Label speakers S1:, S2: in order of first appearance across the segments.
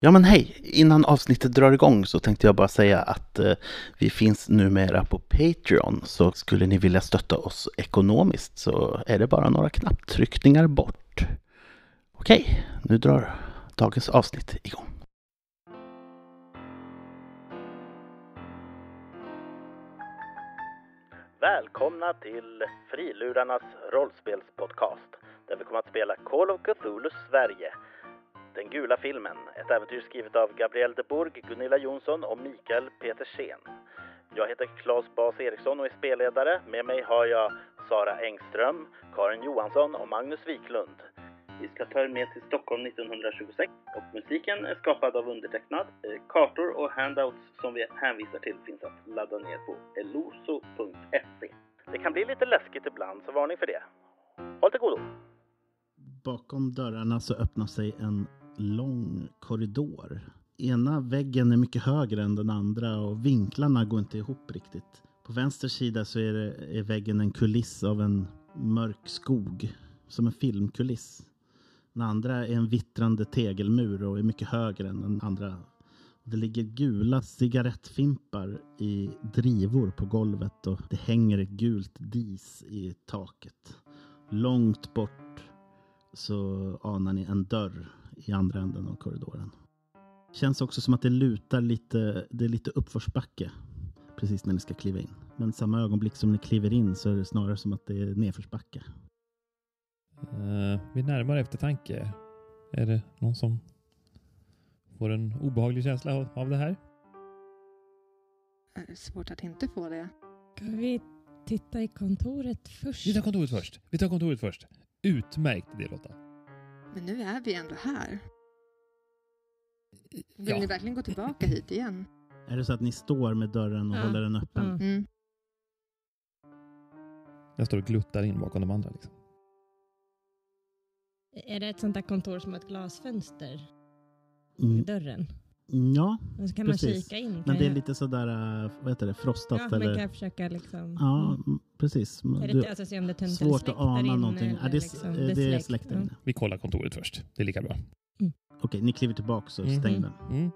S1: Ja men hej! Innan avsnittet drar igång så tänkte jag bara säga att eh, vi finns numera på Patreon. Så skulle ni vilja stötta oss ekonomiskt så är det bara några knapptryckningar bort. Okej, nu drar dagens avsnitt igång.
S2: Välkomna till Frilurarnas rollspelspodcast där vi kommer att spela Call of Cthulhu Sverige. Den gula filmen, ett äventyr skrivet av Gabriel de Burg, Gunilla Jonsson och Mikael Petersen. Jag heter Claes Bas Eriksson och är spelledare. Med mig har jag Sara Engström, Karin Johansson och Magnus Wiklund. Vi ska ta er med till Stockholm 1926 och musiken är skapad av undertecknad. Eh, Kartor och handouts som vi hänvisar till finns att ladda ner på eloso.se. Det kan bli lite läskigt ibland, så varning för det. Håll till godo!
S1: Bakom dörrarna så öppnar sig en lång korridor. Ena väggen är mycket högre än den andra och vinklarna går inte ihop riktigt. På vänster sida så är, det, är väggen en kuliss av en mörk skog, som en filmkuliss. Den andra är en vittrande tegelmur och är mycket högre än den andra. Det ligger gula cigarettfimpar i drivor på golvet och det hänger ett gult dis i taket. Långt bort så anar ni en dörr i andra änden av korridoren. Känns också som att det lutar lite, det är lite uppförsbacke precis när ni ska kliva in. Men samma ögonblick som ni kliver in så är det snarare som att det är nedförsbacke.
S3: Eh, vid närmare eftertanke, är det någon som får en obehaglig känsla av, av det här?
S4: Det är Eh, svårt att inte få det.
S5: Ska vi titta i kontoret först?
S3: Vi tar kontoret först. Vi tar kontoret först. Utmärkt idé Lotta.
S4: Men nu är vi ändå här. Vill
S3: Ja.
S4: ni verkligen gå tillbaka hit igen?
S1: Är det så att ni står med dörren och
S5: Ja.
S1: håller den öppen?
S5: Ja.
S4: Mm.
S3: Jag står och gluttar in bakom de andra. Liksom.
S5: Är det ett sånt där kontor som har ett glasfönster i
S1: Mm.
S5: dörren?
S1: Ja,
S5: Och så kan man
S1: Precis.
S5: kika in.
S1: men
S5: kan
S1: det är
S5: jag-
S1: lite sådär, eh, vad heter det, frostat
S5: ja,
S1: eller?
S5: Man kan försöka liksom...
S1: Ja,
S5: Mm.
S1: mm, precis. Men
S5: Är det
S1: du-
S5: inte- alltså, se om det tänds eller
S1: svårt att
S5: släkt
S1: ana
S5: där inne
S1: någonting. Ja,
S5: eller
S1: det, är s-
S5: liksom,
S1: eh, det är släkt där
S5: Ja.
S1: inne.
S3: Vi kollar kontoret först. Det är lika bra.
S1: Okej, ni kliver tillbaka så
S3: Mm.
S1: stäng den.
S3: Mm.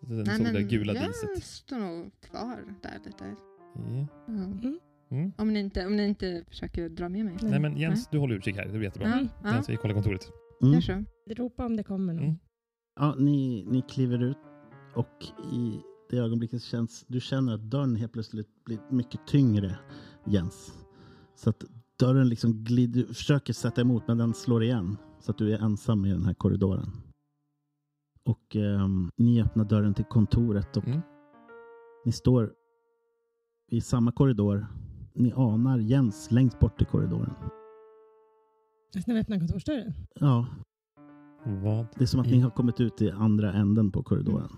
S3: Den såg det gula
S4: jag
S3: diset.
S4: står nog kvar där lite.
S3: Ja.
S4: Ja.
S5: Mm.
S3: Mm.
S4: Om, ni inte, om ni inte försöker dra med mig.
S3: Nej men Jens, du håller utkik här. Det blir jättebra.
S4: Ja, ja.
S3: Jens, vi kollar kontoret.
S1: Mm.
S4: Gör så.
S5: Ropa om det kommer någon.
S3: Mm.
S1: Ja, ni, ni kliver ut och i det ögonblicket känns, du känner att dörren helt plötsligt blir mycket tyngre, Jens. Så att dörren liksom glider, du försöker sätta emot men den slår igen. Så att du är ensam i den här korridoren. Och ehm, ni öppnar dörren till kontoret och
S3: Mm.
S1: ni står i samma korridor. Ni anar Jens längst bort i korridoren.
S5: När vi öppnar kontorsdörren.
S1: Ja,
S3: Vad?
S1: det är som att ni har kommit ut i andra änden på korridoren.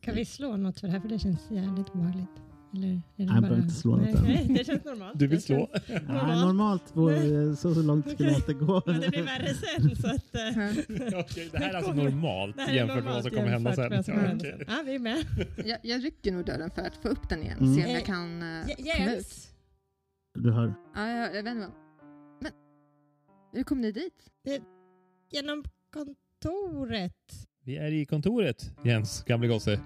S5: Kan vi slå något för det här? För det känns jävligt obehagligt. Eller är det bara...
S1: behöver inte slå något
S5: nej,
S1: än.
S5: nej, det känns normalt.
S3: Du vill
S5: Det
S3: slå?
S5: känns-
S1: Nej, normalt vore- så långt skulle jag inte gå.
S5: Men det blir värre sen så att... eh,
S1: Mm.
S3: Okej, det här är alltså
S5: kommer-
S3: normalt
S5: det här är
S3: jämfört med vad
S5: normalt
S3: som kommer hända
S5: jämfört med
S3: sen.
S5: vad
S3: Ja,
S5: som kommer hända
S3: okej.
S5: sen. Ja, vi är med.
S4: Jag, jag rycker nog dörren för att få upp den igen.
S1: Mm.
S4: Se om jag
S5: Eh,
S4: kan eh,
S5: J-
S4: komma ut.
S5: Jens!
S1: Du hör.
S4: Ja, jag, jag vet inte vad. Men, hur kom ni dit?
S5: Genom kontoret.
S3: Vi är i kontoret, Jens, gamle gosse.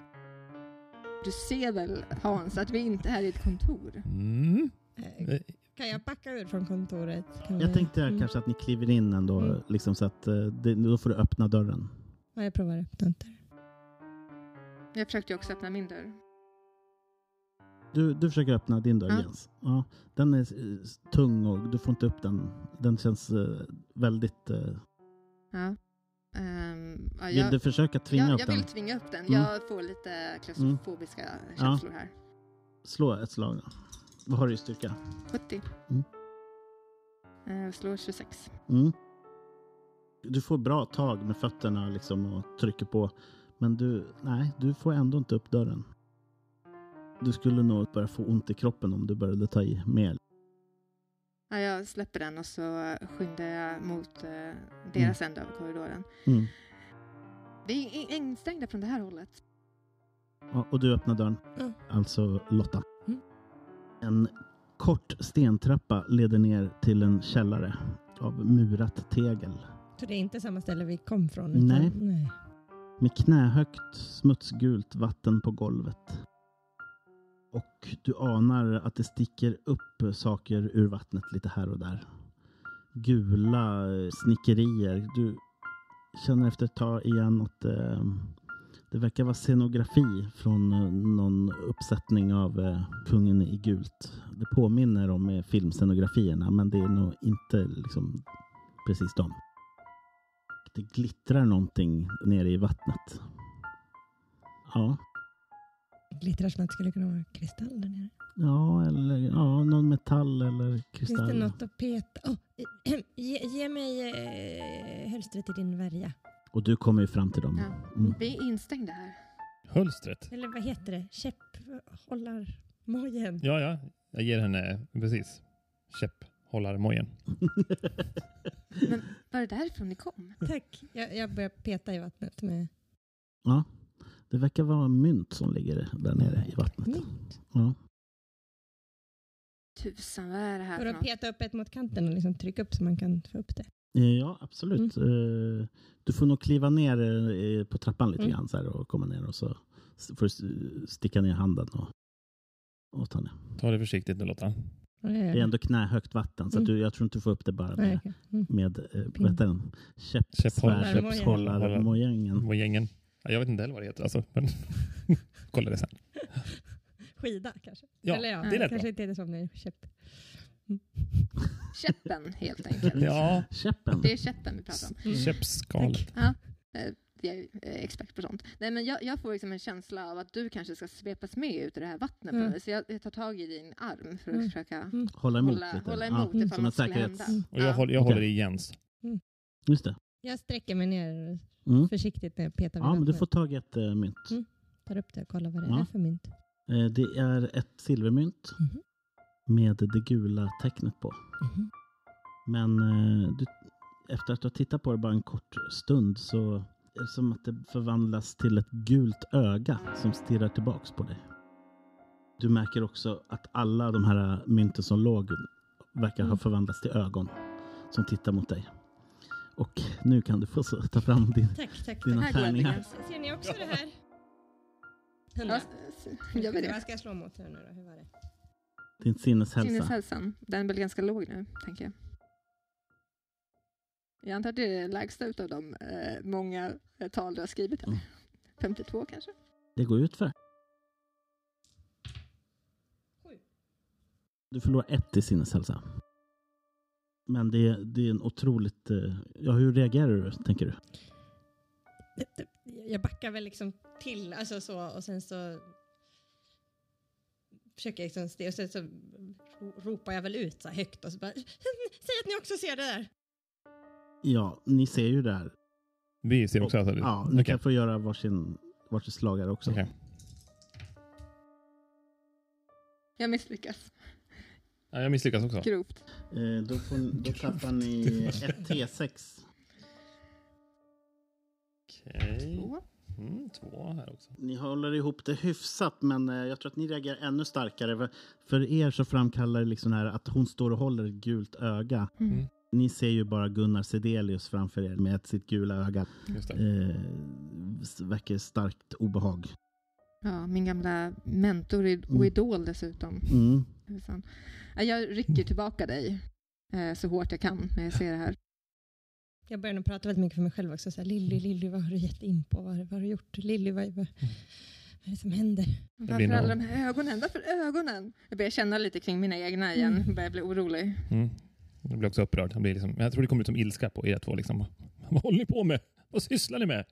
S4: Du ser väl Hans att vi inte är här i ett kontor?
S3: Mm.
S5: Eh, Kan jag backa ur från kontoret? Kan
S1: Jag
S5: vi-
S1: tänkte
S5: Mm.
S1: kanske att ni kliver in ändå,
S5: Mm.
S1: liksom, så att eh, det, då får du öppna dörren.
S5: Ja, jag provar att öppna inte.
S4: Jag försökte ju också öppna min dörr.
S1: Du, du försöker öppna din dörr
S4: Ja.
S1: Jens. Ja, den är eh, tung och du får inte upp den. Den känns eh, väldigt... eh,
S4: Ja. Ehm, ja,
S1: vill du försöka tvinga
S4: jag,
S1: upp
S4: jag
S1: den?
S4: vill tvinga upp den.
S1: Mm.
S4: Jag får lite klaustrofobiska känslor här.
S1: Slå ett slag. då. Vad har du i styrka?
S4: 70.
S1: Mm.
S4: Eh, slår 26.
S1: Mm. Du får bra tag med fötterna liksom och trycker på. Men du, nej, du får ändå inte upp dörren. Du skulle nog börja få ont i kroppen om du började ta i mer.
S4: Ja, jag släpper den och så skyndar jag mot eh, deras ände av korridoren.
S1: Mm.
S4: Vi är in- instängda från det här hållet.
S1: Ja, och du öppnar dörren.
S5: Mm.
S1: Alltså Lotta.
S5: Mm.
S1: En kort stentrappa leder ner till en källare av murat tegel.
S5: Så det är inte samma ställe vi kom från?
S1: Nej.
S5: nej.
S1: med knähögt smutsgult vatten på golvet. Och du anar att det sticker upp saker ur vattnet lite här och där. Gula eh, snickerier. Du känner efter ett tag igen att eh, det verkar vara scenografi från eh, någon uppsättning av eh, Kungen i gult. Det påminner om eh, filmscenografierna men det är nog inte liksom, precis dem. Det glittrar någonting nere i vattnet. Ja,
S5: Glittrar som att det skulle kunna vara kristall där nere.
S1: ja eller ja, någon metall eller
S5: Finns det
S1: kristall.
S5: något att peta? Oh, ge, ge mig eh, hölstret i din värja.
S1: Och du kommer ju fram till dem.
S4: Ja.
S1: Mm.
S4: Vi är instängda här.
S3: Hölstret.
S5: Eller vad heter det? Käpphållar... Mojen.
S3: Ja, ja. Jag ger henne, precis, käpphållarmojen.
S4: Var det därifrån ni kom?
S5: Tack. Jag, jag börjar peta i vattnet med
S1: Ja, det verkar vara mynt som ligger där nere i vattnet.
S5: mynt.
S1: Ja.
S4: Tusan, vad är det här
S5: Och
S4: för
S5: då
S4: något?
S5: peta upp ett mot kanten och liksom trycka upp så man kan få upp det.
S1: Ja, absolut. Eh, Du får nog kliva ner eh, på trappan lite
S5: Mm.
S1: grann så här och komma ner och så s- får du s- sticka ner handen och, och ta ner.
S3: Ta det försiktigt nu Lotta.
S5: Ja, ja, ja.
S1: Det är ändå knähögt vatten så att du, jag tror inte du får upp det bara
S5: Mm. Nej,
S1: med,
S5: okej. Mm.
S1: med eh,
S5: Pin.
S1: vad heter den? Käpp,
S3: Käpphåll-
S1: svär- käpphållarmojängen.
S3: Mojängen. Ja, jag vet inte heller vad det heter alltså. Men kolla det sen.
S5: Skida kanske?
S3: Ja,
S5: Eller
S4: det
S5: ja,
S3: lät bra. Mm.
S5: kanske inte är det som ni köpt.
S4: Käppen, helt
S1: Mm.
S4: enkelt.
S3: Ja,
S1: Käppen.
S4: Det är käppen vi pratar om.
S5: Mm.
S3: käppskalet.
S4: Jag är eh, expert på sånt. Nej, men jag, jag får liksom en känsla av att du kanske ska svepas med ut i det här vattnet. på
S5: Mm.
S4: något vis. Så jag, jag tar tag i din arm för att
S5: Mm.
S4: försöka
S1: Hålla emot
S4: hålla,
S1: lite.
S4: hålla emot
S5: Ja,
S4: ifall
S1: som
S4: något
S1: en
S4: skulle
S1: säkerhets-
S4: hända.
S5: Mm.
S3: Och jag,
S4: Ja.
S3: håller, jag
S1: Okej.
S3: håller i Jens.
S1: Just det.
S5: Jag sträcker mig ner
S1: Mm.
S5: försiktigt när jag petar vid
S1: Ja, men du
S5: vattnet.
S1: får tag i ett eh, mynt.
S5: Mm. Tar upp det och kollar vad det
S1: Ja.
S5: är för mynt.
S4: Mm.
S1: Eh, Det är ett silvermynt
S5: Mhm.
S1: med det gula tecknet på.
S5: Mhm.
S1: Men eh, du, efter att du har tittat på det bara en kort stund så är det som att det förvandlas till ett gult öga som stirrar tillbaks på dig. Du märker också att alla de här mynten som låg verkar ha
S5: Mm.
S1: förvandlats till ögon som tittar mot dig. Och nu kan du få så- ta fram din...
S5: Tack, tack. tack.
S1: Dina
S4: Här går jag
S1: tärningar.
S4: lite
S5: Se- Ser ni också det här?
S4: grann.
S5: Hundra.
S4: Ja, s- Gör vi
S5: Vad
S4: det?
S5: ska jag slå mot här nu då? Hur var det?
S1: Din sinneshälsa.
S4: Sinneshälsan. Den är väl ganska låg nu, tänker jag. Jag antar att det är det lägsta utav de eh, många eh, tal du har skrivit här.
S1: Mm.
S4: 52 kanske?
S1: Det går ut för.
S5: Sju.
S1: Du förlorar ett i sinneshälsa. Men det, är- det är en otroligt... eh, Ja, hur reagerar du, tänker du?
S5: Jag backar väl liksom till, alltså så, och sen så försöker jag liksom steg, och sen så ro- ropar jag väl ut så här högt och så bara Säg att ni också ser det där!
S1: Ja, ni ser ju det här.
S3: Vi ser också. Alltså.
S1: Ja, ni
S3: Okej.
S1: kan få göra varsin, varsin slagare också.
S3: Okej.
S4: Jag misslyckas
S3: Ja, jag misslyckas också.
S4: grovt.
S1: Eh, då, får, ni- då tappar ni ett T6.
S3: Okej.
S4: Två.
S3: Mm, två här också.
S1: Ni håller ihop det hyfsat, men eh, jag tror att ni reagerar ännu starkare. För- För er så framkallar det liksom det här att hon står och håller ett gult öga.
S4: Mm.
S1: Ni ser ju bara Gunnar Sedelius framför er med sitt gula öga.
S3: Just det.
S1: Eh, s- verkar starkt obehag.
S4: Ja, min gamla mentor i-
S1: Mm.
S4: och idol dessutom.
S1: Mm.
S4: Tusan. Ja, Jag rycker tillbaka dig eh, så hårt jag kan när jag ser det här.
S5: Jag börjar nog prata väldigt mycket för mig själv också. Så här, Lilly, Lilly, vad har du gett in på? Vad, har- vad har du gjort? Lilly, vad, vad,
S3: Mm.
S5: vad är det som händer?
S4: Varför
S3: blir nog-
S4: alla de här ögonen? Varför ögonen? Jag börjar känna lite kring mina egna igen.
S5: Mm.
S4: Börjar bli orolig.
S3: Mm. Jag blir också upprörd. Jag, blir liksom, jag tror det kommer ut som ilska på er två. Liksom. Vad håller ni på med? Vad sysslar ni med?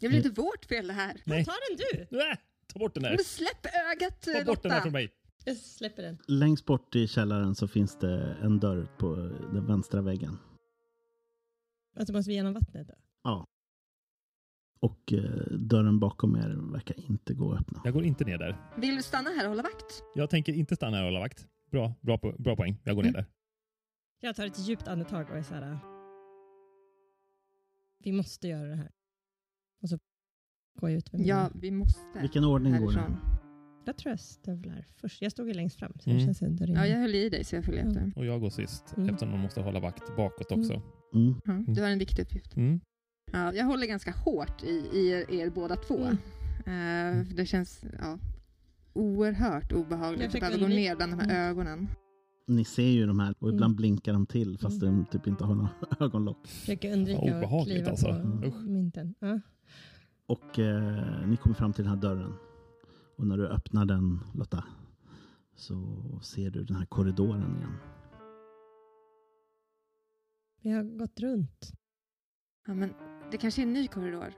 S4: Det blir inte
S3: Mm.
S4: vårt fel det här.
S3: Nej.
S5: Ta den du!
S3: Äh, ta bort den där.
S4: Men släpp ögat
S3: Ta
S4: eh,
S3: bort den där
S4: Lotta!
S3: från mig.
S5: Jag släpper den.
S1: Längst bort i källaren så finns det en dörr på den vänstra väggen.
S5: Alltså måste vi genom vattnet då?
S1: Och eh, dörren bakom er verkar inte gå att öppna.
S3: Jag går inte ner där.
S4: Vill du stanna här och hålla vakt?
S3: Jag tänker inte stanna här och hålla vakt. Bra, bra, po- bra poäng. Jag går ner där.
S5: Jag tar ett djupt andetag och är så här. äh, Vi måste göra det här. Och så går jag
S3: Mm.
S5: ut med mina...
S4: Ja, vi måste.
S1: Vilken ordning går det?
S4: härifrån.
S5: Jag tror jag stövlar först. Jag stod ju längst fram så
S3: Mm.
S5: det känns ändå rimligt.
S4: Ja, jag höll i dig så jag följer efter.
S3: Och jag går sist
S5: Mm.
S3: eftersom de måste hålla vakt bakåt också.
S1: Mm.
S4: Ja, du har en viktig uppgift.
S3: Mm.
S4: Ja, jag håller ganska hårt i, i er, er båda två.
S5: Mm.
S4: Eh, för det känns ja, oerhört
S5: Jag
S4: obehagligt att
S5: fick
S4: behöva gå
S5: undvika-
S4: ner bland de här
S5: Mm.
S4: ögonen.
S1: Ni ser ju de här och ibland
S4: Mm.
S1: blinkar de till fast de typ inte har några ögonlock.
S5: Försöker undvika att
S3: Obehagligt
S5: kliva
S3: alltså.
S5: på
S3: Usch.
S5: mynten. Ja.
S1: Och eh, ni kommer fram till den här dörren. Och när du öppnar den, Lotta, så ser du den här korridoren igen.
S5: Vi har gått runt.
S4: Ja, men det kanske är en ny korridor.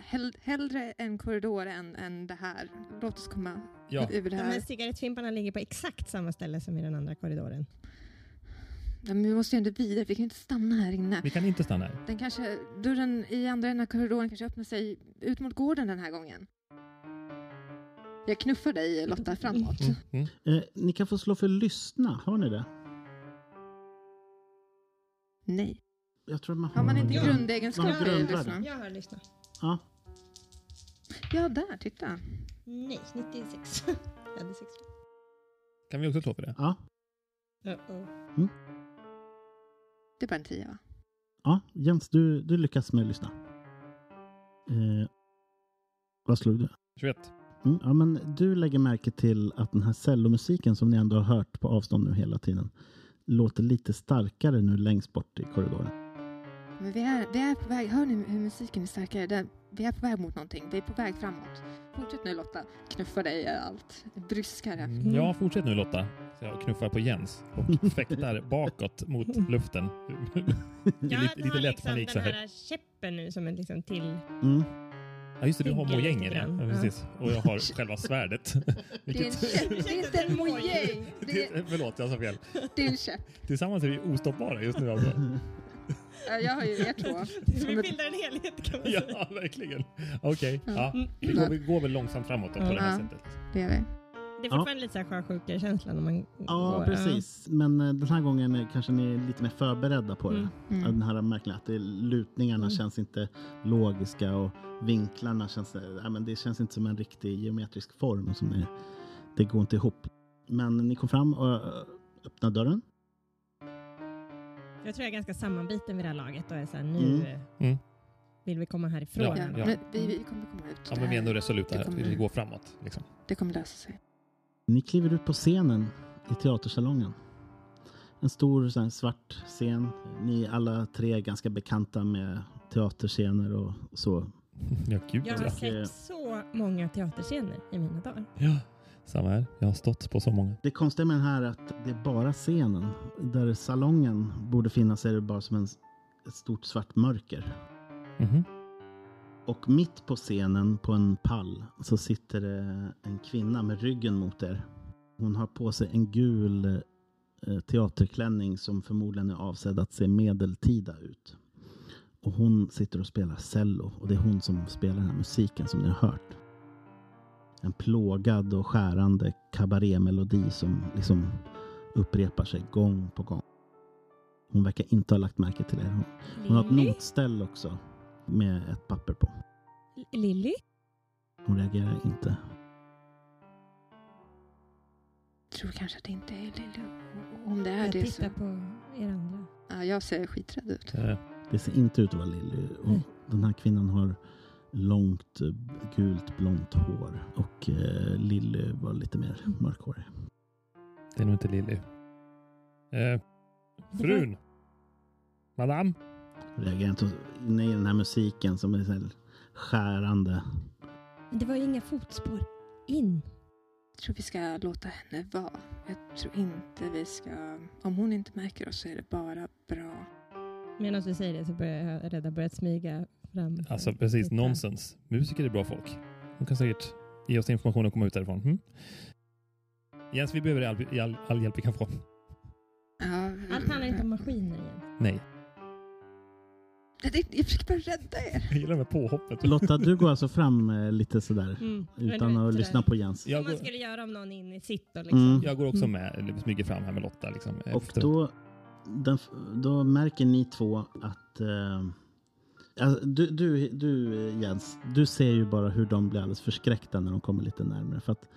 S4: Hell, hellre en korridor än, än det här. Låt oss komma
S3: Ja,
S4: ur det
S5: De här
S4: här.
S5: cigarettfimparna ligger på exakt samma ställe som i den andra korridoren.
S4: Ja, men vi måste ju ändå vidare, vi kan ju inte stanna här inne.
S3: vi kan inte stanna här.
S4: Den kanske, dörren i andra änden av korridoren kanske öppnar sig ut mot gården den här gången. Jag knuffar dig Lotta framåt.
S3: Mm, mm.
S1: Eh, ni kan få slå för lyssna, hör ni det?
S4: Nej.
S1: Jag tror man har,
S4: Har man inte
S5: Ja.
S1: Man
S4: grundegenskaper i
S1: grundar
S4: lyssna?
S1: den.
S5: Jag har lyssnat.
S1: Ja,
S4: Ja, där, titta.
S5: Nej, 96. jag hade sex.
S3: Kan vi också slå för det?
S1: ja,
S5: Uh-oh.
S4: Det är bara en tia va?
S1: ja. Jens, du, du lyckas med lyssna. Eh, vad slog du?
S3: 21.
S1: Mm, ja, men du lägger märke till att den här cellomusiken som ni ändå har hört på avstånd nu hela tiden låter lite starkare nu längst bort i korridoren.
S4: Men vi är, det är på väg, hör ni hur musiken är starkare? Det, vi är på väg mot någonting, vi är på väg framåt. Fortsätt nu Lotta, knuffa dig i allt. Bryskare.
S3: Mm. Ja, fortsätt nu Lotta. Så jag knuffar på Jens och fäktar bakåt mot luften. Det är
S5: Jag
S3: lite,
S5: tar
S3: lite lätt
S5: liksom
S3: panik så
S5: den
S3: här.
S5: här käppen nu som en liksom till...
S1: Mm.
S3: Ja, just det, du har
S5: Tänker lite
S3: mojänger ja.
S5: grann.
S3: ja, precis. Och jag har själva svärdet.
S4: Det är en
S3: Vilket,
S4: käpp, det är inte en mojäng. Det är,
S3: det, förlåt, jag sa fel.
S4: det är en käpp.
S3: Tillsammans är vi ostoppbara just nu alltså.
S4: Ja, Jag har ju er två. Som
S5: Vi
S4: ett-
S5: bildar en helhet kan man säga.
S3: Ja, verkligen. Okej, ja.
S5: Mm.
S3: Vi, går, vi går väl långsamt framåt då, på
S5: Ja.
S3: det här
S4: Ja.
S3: sättet.
S4: Det är vi.
S5: Det är fortfarande lite så här sjösjukekänsla när man
S1: Ja,
S5: går.
S1: precis. Men eh, den här gången är- kanske ni är lite mer förberedda på det.
S5: Mm.
S1: Ja, Den
S4: Mm.
S1: här märkliga att det, lutningarna
S5: Mm.
S1: känns inte logiska och vinklarna känns, nej, men det känns inte som en riktig geometrisk form. Som ni, det går inte ihop. Men ni kom fram och eh, öppnade dörren.
S5: Jag tror jag är ganska sammanbiten vid det här laget och är så här, nu
S1: Mm.
S5: eh,
S3: Mm.
S5: vill vi komma härifrån.
S3: Ja,
S4: Ja,
S3: ja.
S4: men vi, vi kommer komma ut.
S3: Ja, men vi är ändå resoluta här.
S4: Det
S3: att Vi
S4: kommer-
S3: går framåt. Liksom.
S4: Det kommer lösa sig.
S1: Ni kliver ut på scenen i teatersalongen. En stor så här, svart scen. Ni är alla tre ganska bekanta med teaterscener och så.
S3: Ja, gud ja.
S5: Jag har
S1: Och, eh,
S5: sett så många teaterscener i mina dagar.
S3: ja. Samma här. Jag har stått på så många.
S1: Det konstiga med den här är att det är bara scenen. Där salongen borde finnas är det bara som en, ett stort svart mörker.
S3: Mhm.
S1: Och mitt på scenen, på en pall, så sitter det en kvinna med ryggen mot er. Hon har på sig en gul eh, teaterklänning som förmodligen är avsedd att se medeltida ut. Och hon sitter och spelar cello och det är hon som spelar den här musiken som ni har hört. En plågad och skärande kabarémelodi som liksom upprepar sig gång på gång. Hon verkar inte ha lagt märke till er. Hon- Hon har ett
S5: Lilly?
S1: notställ också med ett papper på.
S5: Lilly?
S1: Hon reagerar inte.
S4: Tror kanske att det inte är Lilly. Om det är
S5: Jag
S4: det så...
S5: tittar på er andra.
S4: Ja, jag ser skiträdd ut.
S3: Eh,
S1: Det ser inte ut att vara Lilly. Och
S5: Nej.
S1: den här kvinnan har långt eh, gult blont hår och eh, Lilly var lite mer
S5: Mm.
S1: mörkhårig.
S3: Det är nog inte Lilly. Eh, frun! Madame!
S1: Reagerar inte. Och Inne i den här musiken som är så här skärande.
S5: Men det var ju inga fotspår in.
S4: Jag tror vi ska låta henne vara. Jag tror inte vi ska... Om hon inte märker oss så är det bara bra.
S5: Medan du säger det så börjar jag redan börjat smyga fram.
S3: Alltså precis,
S5: Mm. Titta.
S3: nonsens. Musiker är bra folk. De kan säkert ge oss information och komma ut därifrån. Mm. Jens, vi behöver all, all, all hjälp vi kan få.
S4: Ja,
S5: Allt handlar inte om maskiner igen.
S3: Nej,
S4: Det- det- Jag försöker bara rädda er.
S3: jag gillar det här påhoppet.
S1: Lotta, du går alltså fram eh, lite sådär
S5: Mm.
S1: utan att lyssna på Jens.
S5: Som
S3: Jag
S5: man
S3: går,
S5: skulle göra om någon in i sitt då eh, liksom.
S1: Mm.
S3: jag går också med, eller smyger fram här med Lotta. Liksom,
S1: Och
S3: efter-
S1: då, den, då märker ni två att... Eh, alltså, du, du, du eh, Jens, du ser ju bara hur de blir alldeles förskräckta när de kommer lite närmare. För att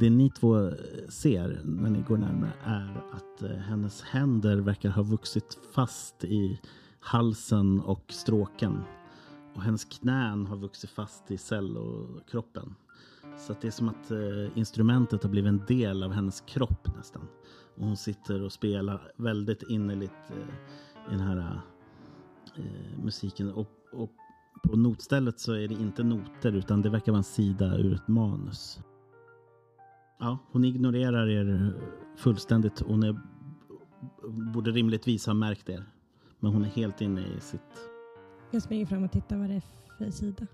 S1: det ni två eh, ser när ni går närmare är att eh, hennes händer verkar ha vuxit fast i halsen och stråken. Och hennes knän har vuxit fast i cellokroppen. Så att det är som att eh, instrumentet har blivit en del av hennes kropp nästan. Och hon sitter och spelar väldigt innerligt eh, i den här eh, musiken. Och, och på notstället så är det inte noter utan det verkar vara en sida ur ett manus. Ja, hon ignorerar er fullständigt. Hon är, borde rimligtvis ha märkt er. Men hon är helt inne i sitt...
S5: Jag springer fram och tittar vad det är för sida.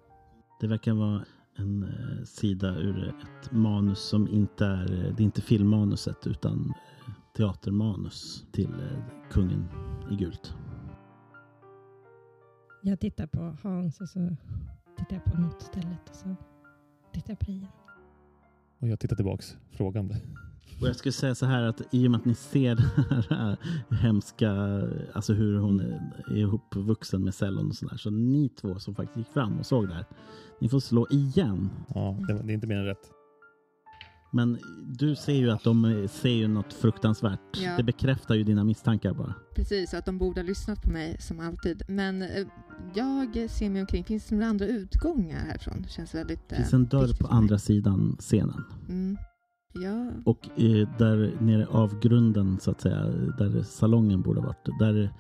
S1: Det verkar vara en eh, sida ur ett manus som inte är... eh, Det är inte filmmanuset utan eh, teatermanus till eh, Kungen i gult.
S5: Jag tittar på Hans och så tittar jag på notstället och så tittar jag på dig igen.
S3: Och jag tittar tillbaks frågande.
S1: Och jag skulle säga så här att i och med att ni ser det här eh, hemska, alltså hur hon är är ihopvuxen med cellon och sådär, så ni två som faktiskt gick fram och såg det här, ni får slå igen.
S3: Ja, det, var- det är inte mer än rätt.
S1: Men du ser ju att de eh, ser ju något fruktansvärt.
S4: Ja.
S1: Det bekräftar ju dina misstankar bara.
S4: Precis, att de borde ha lyssnat på mig som alltid. Men eh, jag ser mig omkring. Finns det några andra utgångar härifrån? Känns väldigt...
S1: Det
S4: eh,
S1: finns en dörr
S4: viktigt
S1: på
S4: för mig.
S1: andra sidan scenen.
S4: Mm. Ja,
S1: Och eh, där nere avgrunden så att säga, där salongen borde ha varit, där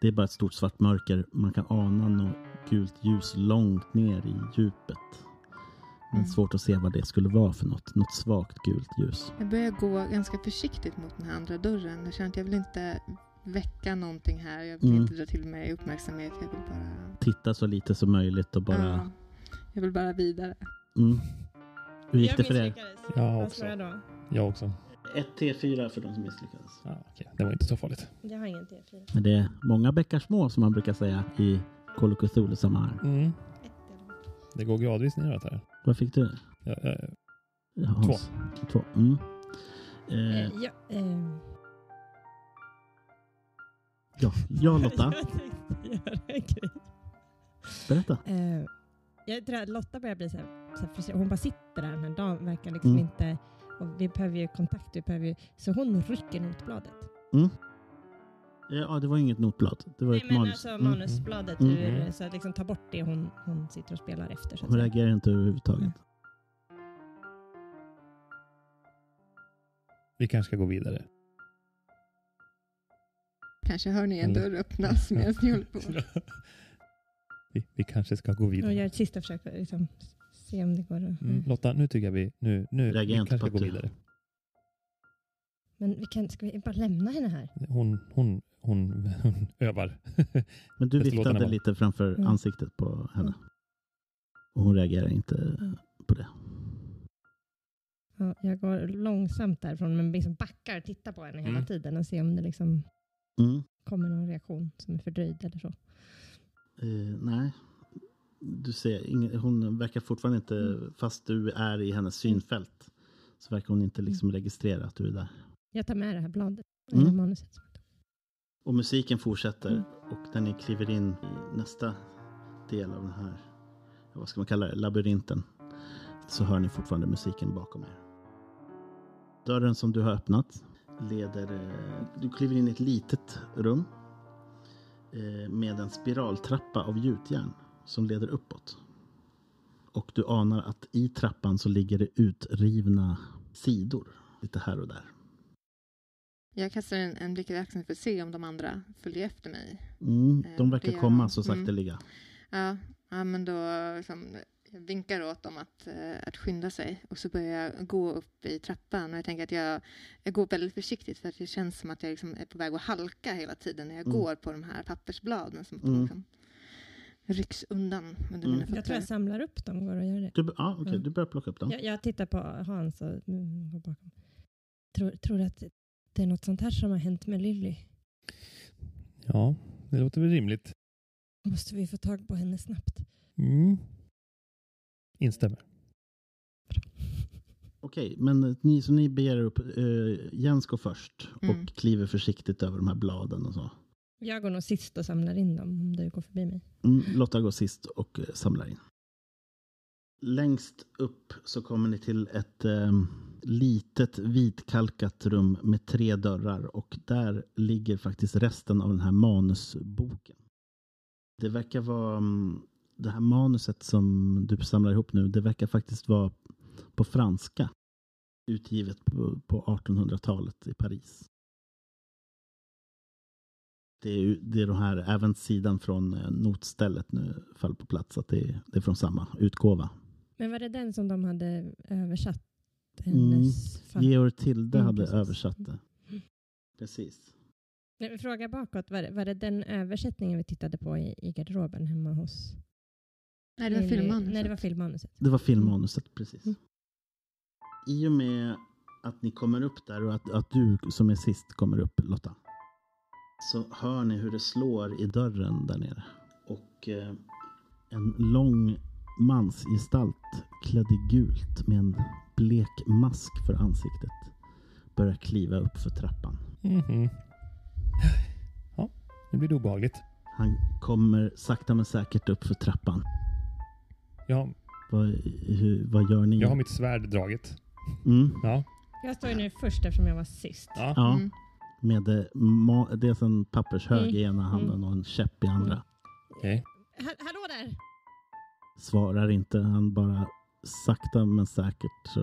S1: det är bara ett stort svart mörker. Man kan ana något gult ljus långt ner i djupet. Men
S4: Mm.
S1: svårt att se vad det skulle vara för något. Något svagt gult ljus.
S4: jag börjar gå ganska försiktigt mot den här andra dörren. Jag känner att jag vill inte väcka någonting här. Jag vill
S1: Mm.
S4: inte dra till mig uppmärksamhet. Jag vill bara...
S1: Titta så lite som möjligt och bara...
S4: Ja, jag vill bara vidare.
S1: Mm. Hur gick det för er?
S3: Jag också.
S5: då?
S3: Jag också.
S1: 1 T4 för de som misslyckades.
S3: Ja, okej. Det var inte så farligt.
S5: Jag har ingen T4.
S1: Men det är många bäckar små som man brukar säga i Call of Cthulhu sammanhang.
S3: Mm. Det går gradvis neråt här.
S1: Vad fick du?
S3: Ja, ja,
S1: Hans? Två. Mm. Eh,
S5: Eh, ja, eh,
S1: ja, ja Lotta,
S5: jag tänkte göra en grej.
S1: berätta.
S5: Eh, jag tror att Lotta börjar bli så här, så här frustrerad. Hon bara sitter där den här dagen. Verkar liksom
S1: Mm.
S5: inte... Och vi behöver ju kontakt. Vi behöver ju, så hon rycker notbladet.
S1: Eh, Ja, det var inget notblad. Det var
S5: Nej
S1: ett
S5: men
S1: manus.
S5: alltså
S1: Mm.
S5: manusbladet.
S1: Mm.
S5: Ur,
S3: Mm.
S5: så att liksom ta bort det hon, hon sitter och spelar efter. Så att
S1: Hon
S5: säga.
S1: reagerar inte överhuvudtaget.
S3: vi kanske ska gå vidare.
S4: Kanske hör ni en
S3: Mm.
S4: dörr öppnas medan ni håller på.
S3: vi, vi kanske ska gå
S5: Jag gör
S3: vidare.
S5: ett sista försök för att liksom, se om det går att...
S3: Mm. Lotta, nu tycker jag vi... Nu, nu
S1: Reagerar
S3: vi
S1: inte
S3: kanske
S1: på
S3: ska
S1: att
S3: gå
S1: du-
S3: vidare.
S5: Men vi kan, ska vi bara lämna henne här?
S3: Hon, hon, hon, hon övar.
S1: Men du
S3: Bästa låtarna
S1: viftade
S3: var-
S1: lite framför
S5: Mm.
S1: ansiktet på henne.
S5: Mm.
S1: Och hon reagerar inte på det.
S5: Ja, jag går långsamt därifrån men liksom backar och tittar på henne hela
S3: Mm.
S5: tiden och ser om det liksom
S1: Mm.
S5: kommer någon reaktion som är fördröjd eller så.
S1: Eh, nej. Du ser, ingen, hon verkar fortfarande inte,
S5: Mm.
S1: fast du är i hennes synfält, så verkar hon inte liksom
S5: Mm.
S1: registrera att du är där.
S5: Jag tar med det här bladet.
S1: Mm.
S5: eller Manuset.
S1: Och musiken fortsätter
S5: Mm.
S1: och när ni kliver in i nästa del av den här, vad ska man kalla det, labyrinten, så hör ni fortfarande musiken bakom er. Dörren som du har öppnat leder, eh, du kliver in i ett litet rum eh, med en spiraltrappa av gjutjärn som leder uppåt. Och du anar att i trappan så ligger det utrivna sidor lite här och där.
S4: Jag kastar en, en blick över axeln för att se om de andra följer efter mig.
S1: Mm, de
S4: Eh,
S1: verkar
S4: det-
S1: komma så
S4: mm.
S1: sakteliga.
S4: Ja, ja men då liksom, jag vinkar åt dem att, eh, att skynda sig och så börjar jag gå upp i trappan och jag tänker att jag, jag går väldigt försiktigt för att det känns som att jag liksom är på väg att halka hela tiden när jag
S1: Mm.
S4: går på de här pappersbladen som
S1: Mm.
S4: liksom rycks undan under
S1: Mm.
S4: mina
S5: Jag tror
S4: fötter.
S5: jag samlar upp dem och går och gör det.
S1: Du, ja, okej,
S5: Mm.
S1: du börjar plocka upp dem.
S5: Jag, jag tittar på Hans och mm, går bakom. Tror, tror du att det är något sånt här som har hänt med Lilly?
S3: Ja, det låter väl rimligt.
S5: Måste vi få tag på henne snabbt?
S3: Mm. Instämmer.
S1: Okej, men eh, ni, så ni beger er upp. Eh, Jens går först och
S4: Mm.
S1: kliver försiktigt över de här bladen och så.
S5: Jag går nog sist och samlar in dem om du går förbi mig.
S1: Mm, Lotta går sist och eh, samlar in. Längst upp så kommer ni till ett eh, litet vitkalkat rum med tre dörrar och där ligger faktiskt resten av den här manusboken. Det verkar vara mm, det här manuset som du samlar ihop nu, det verkar faktiskt vara på franska. Utgivet på, på 1800-talet i Paris. Det är, ju- det är de här, även sidan från eh, notstället nu faller på plats, att det är, det är från samma utgåva.
S5: Men var det den som de hade översatt
S1: Mm.
S5: hennes fall?
S1: Georg Tilde
S5: Mm,
S1: hade
S5: precis.
S1: översatt det.
S5: Mm.
S1: Precis.
S5: Nej, men Fråga bakåt, var det, var det den översättningen vi tittade på i, i garderoben hemma hos?
S4: Nej, det var
S5: Lilly?
S4: filmmanuset.
S5: Nej, det var filmmanuset.
S1: Det var filmmanuset, precis.
S5: Mm.
S1: I och med att ni kommer upp där och att, att du som är sist kommer upp, Lotta, så hör ni hur det slår i dörren där nere. Och eh, en lång mansgestalt klädd i gult med en blek mask för ansiktet börjar kliva upp för trappan.
S3: Mhm. Ja, nu blir det obehagligt.
S1: Han kommer sakta men säkert upp för trappan.
S3: Ja,
S1: Vad, hur, vad gör ni?
S3: jag har mitt svärd draget.
S1: Mm,
S3: Ja,
S5: Jag står ju nu först eftersom jag var sist.
S3: ja.
S1: ja.
S4: Mm.
S1: Med eh, ma- dels en pappershög
S5: Mm.
S1: i ena handen och en käpp i andra.
S5: Mm.
S3: okej.
S5: Ha- hallå där!
S1: Svarar inte, han bara sakta men säkert. Så.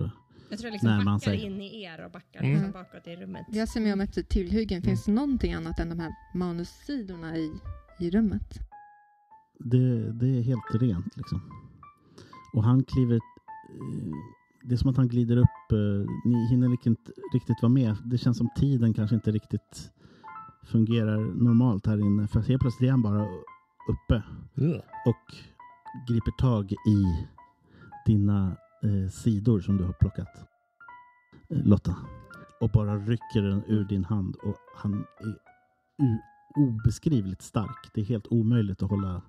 S5: Jag tror jag liksom
S1: Närmar han
S5: backar
S1: sig.
S5: in i er och backar
S3: Mm.
S5: liksom bakåt i rummet.
S4: Jag ser mig om efter tillhyggen.
S1: Mm.
S4: Finns det någonting annat än de här manussidorna i, i rummet?
S1: Det, det är helt rent liksom. Och han kliver... eh, Det är som att han glider upp. eh, Ni hinner liksom inte riktigt vara med. Det känns som tiden kanske inte riktigt fungerar normalt här inne. För helt plötsligt är han bara uppe
S3: Ugh.
S1: och griper tag i dina eh, sidor som du har plockat, eh, Lotta. Och bara rycker den ur din hand och han är u- obeskrivligt stark. Det är helt omöjligt att hålla,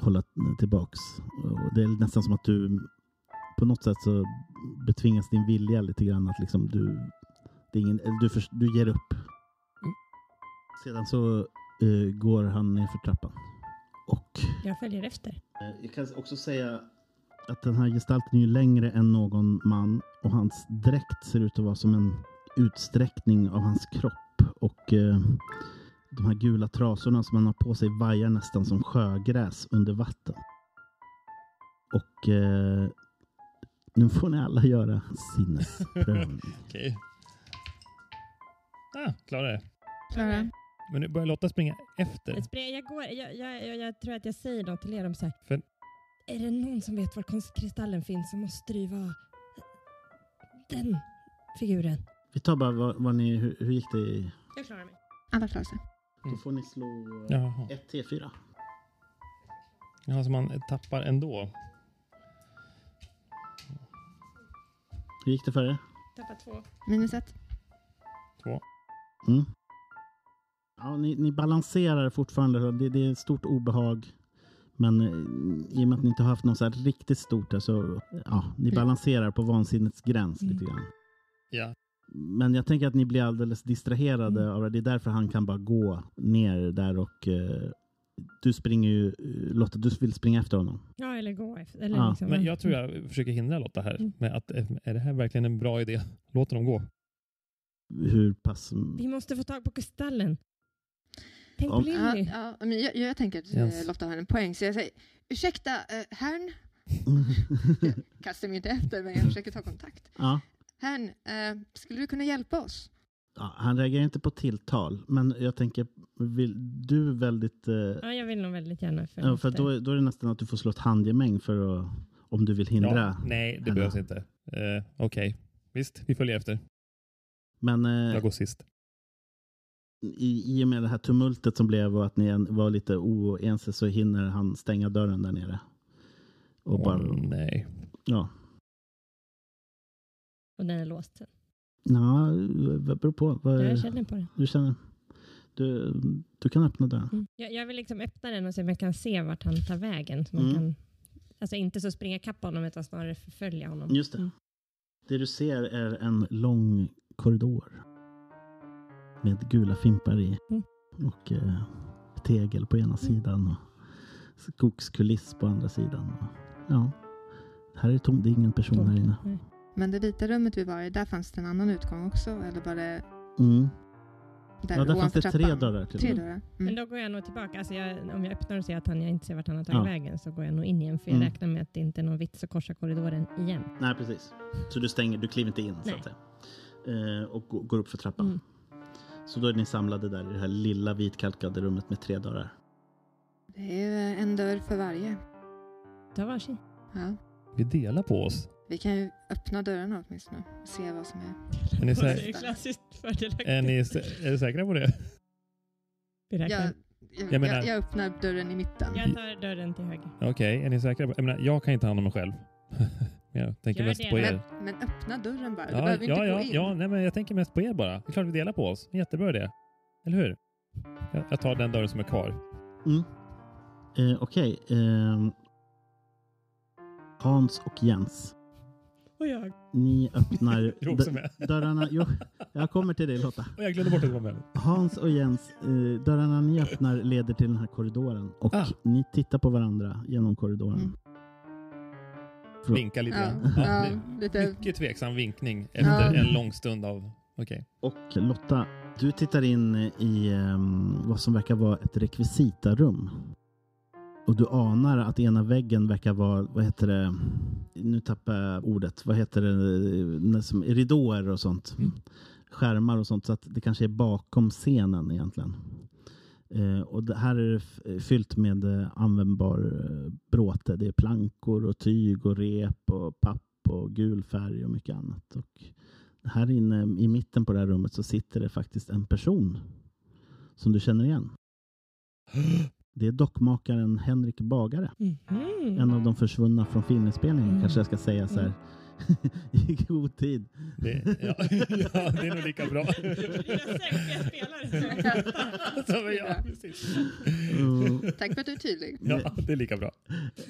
S1: hålla tillbaks. Och det är nästan som att du på något sätt så betvingas din vilja lite grann att liksom du, det är ingen, eller du, förs- du ger upp. Sedan så eh, går han ner för trappan. Och
S5: Jag följer efter.
S1: Eh, Jag kan också säga att den här gestalten är ju längre än någon man och hans dräkt ser ut att vara som en utsträckning av hans kropp och eh, de här gula trasorna som han har på sig vajar nästan som sjögräs under vatten. Och eh, nu får ni alla göra sinnesprövning.
S3: Okej. Ah, klarade det.
S4: Klara?
S3: Men nu börjar Lotta springa efter.
S5: Jag, spring- jag, går, jag, jag, jag, jag tror att jag säger något till er om så här.
S3: För-
S5: Är det någon som vet var konstkristallen finns så måste det ju vara den figuren.
S1: Vi tar bara vad, vad ni, hur, hur gick det? i-
S5: Jag klarar mig.
S4: Alla klarar sig.
S1: Då får ni slå
S3: Jaha.
S1: 1 T4.
S3: Jaha, så man tappar ändå.
S1: Hur gick det för er?
S5: Tappar två.
S4: Minus ett.
S3: Två.
S1: Mm. Ja, ni, ni balanserar fortfarande. Det, det är ett stort obehag. Men eh, i och med att ni inte har haft något så här riktigt stort där så eh, ja, ni
S4: Mm.
S1: balanserar på vansinnets gräns
S5: Mm.
S1: lite grann.
S3: Ja.
S1: Men jag tänker att ni blir alldeles distraherade
S5: Mm.
S1: av det. Det är därför han kan bara gå ner där och eh, du springer ju, eh, Lotta, du vill springa efter honom.
S5: Ja, eller gå efter. Eller
S1: Ja,
S5: liksom,
S3: Men jag tror jag försöker hindra Lotta här
S5: Mm.
S3: med att eh, är det här verkligen en bra idé? Låter dem gå.
S1: Hur pass...
S5: Vi måste få tag på kristallen. Tänk på
S1: Om-
S4: Ja,
S5: Lilly.
S4: ja, men jag, jag tänker att
S3: Jens.
S4: eh, Lotta har en poäng, så jag säger ursäkta eh, herrn, kastar mig inte efter, men jag försöker ta kontakt.
S1: ja.
S4: Herrn, eh, skulle du kunna hjälpa oss?
S1: Ja, han reagerar inte på tilltal, men jag tänker, vill du väldigt eh,
S5: Ja, jag vill nog väldigt gärna följa
S1: Ja, för
S5: efter.
S1: då, då är det nästan att du får slå ett handgemäng för att, om du vill hindra.
S3: Ja, nej, det
S1: henne.
S3: behövs inte. Eh, Okej, visst, vi följer efter.
S1: Men eh,
S3: Jag går sist.
S1: i, i och med det här tumultet som blev och att ni en- var lite oense så hinner han stänga dörren där nere. Och
S3: Åh,
S1: bara,
S3: nej.
S1: ja.
S5: Och den är låst.
S1: Nja, det beror på. Vad,
S5: Jag känner på den.
S1: Du känner. Du, du kan öppna dörren.
S5: Mm. Jag, jag vill liksom öppna den och se om jag kan se vart han tar vägen. Så man
S1: Mm.
S5: kan, alltså inte så springa kapp honom utan snarare förfölja honom.
S1: Just det.
S5: Mm.
S1: Det du ser är en lång korridor. Med gula fimpar i.
S5: Mm.
S1: Och eh, tegel på
S4: Mm.
S1: ena sidan. Och skogskuliss på andra sidan. Och, ja. Här är det tomt. Det är ingen person här inne.
S5: Nej.
S4: Men det vita rummet vi var i, där fanns det en annan utgång också, eller var det...
S1: Mm.
S4: Där
S1: Ja, där fanns
S4: ovanför
S1: det tre
S4: trappan.
S1: dörrar till.
S4: Tre dörrar.
S5: Men
S4: Mm.
S5: då går jag nog tillbaka. Alltså jag, om jag öppnar och ser att han, jag inte ser vart han har tagit
S1: Ja.
S5: vägen så går jag nog in igen. För jag
S1: Mm.
S5: räknar med att det inte är någon vits att korsa korridoren igen.
S1: Nej, precis. Så du stänger, du kliver inte in så
S5: Nej.
S1: att säga. Eh, och gå- går upp för trappan.
S5: Mm.
S1: Så då är ni samlade där i det här lilla vitkalkade rummet med tre dörrar.
S4: Det är ju eh, en dörr för varje.
S5: Ta varsin.
S4: Ja.
S3: Vi delar på oss.
S4: Vi kan ju öppna dörrarna åtminstone och se vad som är.
S3: Är ni,
S4: Det
S3: sä-
S4: är ju
S5: klassiskt fördelaktigt.
S3: är ni, sä- är ni säkra på det?
S5: Vi räknar.
S4: Jag, jag,
S3: Jag
S4: jag,
S3: menar-
S4: jag, öppnar dörren i mitten.
S5: Jag tar dörren till höger.
S3: Okej, är ni säkra? På, jag, menar, jag kan inte ta hand om mig själv. jag tänker
S5: Gör
S3: mest
S5: det.
S3: på
S4: Men,
S3: er.
S4: men öppna dörren bara. Du
S3: Ja,
S4: behöver inte
S3: ja, ja,
S4: gå in.
S3: ja nej, men jag tänker mest på er bara. Det är klart vi delar på oss. En jättebra idé. Eller hur? Jag, jag tar den dörren som är kvar.
S1: Mm. Eh, Okej. ehm. Hans och Jens.
S5: Och jag.
S1: Ni öppnar
S3: Du är också
S1: dö-
S3: med.
S1: dörrarna. Jo, jag kommer till dig Lotta.
S3: Och jag glömde bort att du var med.
S1: Hans och Jens, eh, dörrarna ni öppnar leder till den här korridoren. Och
S3: Ah.
S1: ni tittar på varandra genom korridoren.
S4: Mm.
S1: Bra.
S3: Vinka lite
S4: Ja,
S3: grann.
S4: ja,
S3: det-
S4: lite-
S3: Mycket tveksam vinkning efter
S4: Ja.
S3: en lång stund av... Okej.
S1: Och Lotta, du tittar in i ehm, vad som verkar vara ett rekvisitarum. Och du anar att ena väggen verkar vara, vad heter det, nu tappar jag ordet, vad heter det, Eh, som ridåer och sånt.
S3: Mm.
S1: Skärmar och sånt, så att det kanske är bakom scenen egentligen. Eh, och det här är f- fyllt med eh, användbar eh, bråte. Det är plankor och tyg och rep och papp och gul färg och mycket annat. Och här inne i mitten på det här rummet så sitter det faktiskt en person som du känner igen. Det är dockmakaren Henrik Bagare.
S5: Mhm.
S1: En av de försvunna från filminspelningen
S5: Mm.
S1: kanske jag ska säga så här. I god tid.
S3: Det, ja, ja, det är nog lika bra. Så, men ja, precis.
S1: Mm.
S4: Tack för att du är tydlig.
S3: Ja, det är lika bra.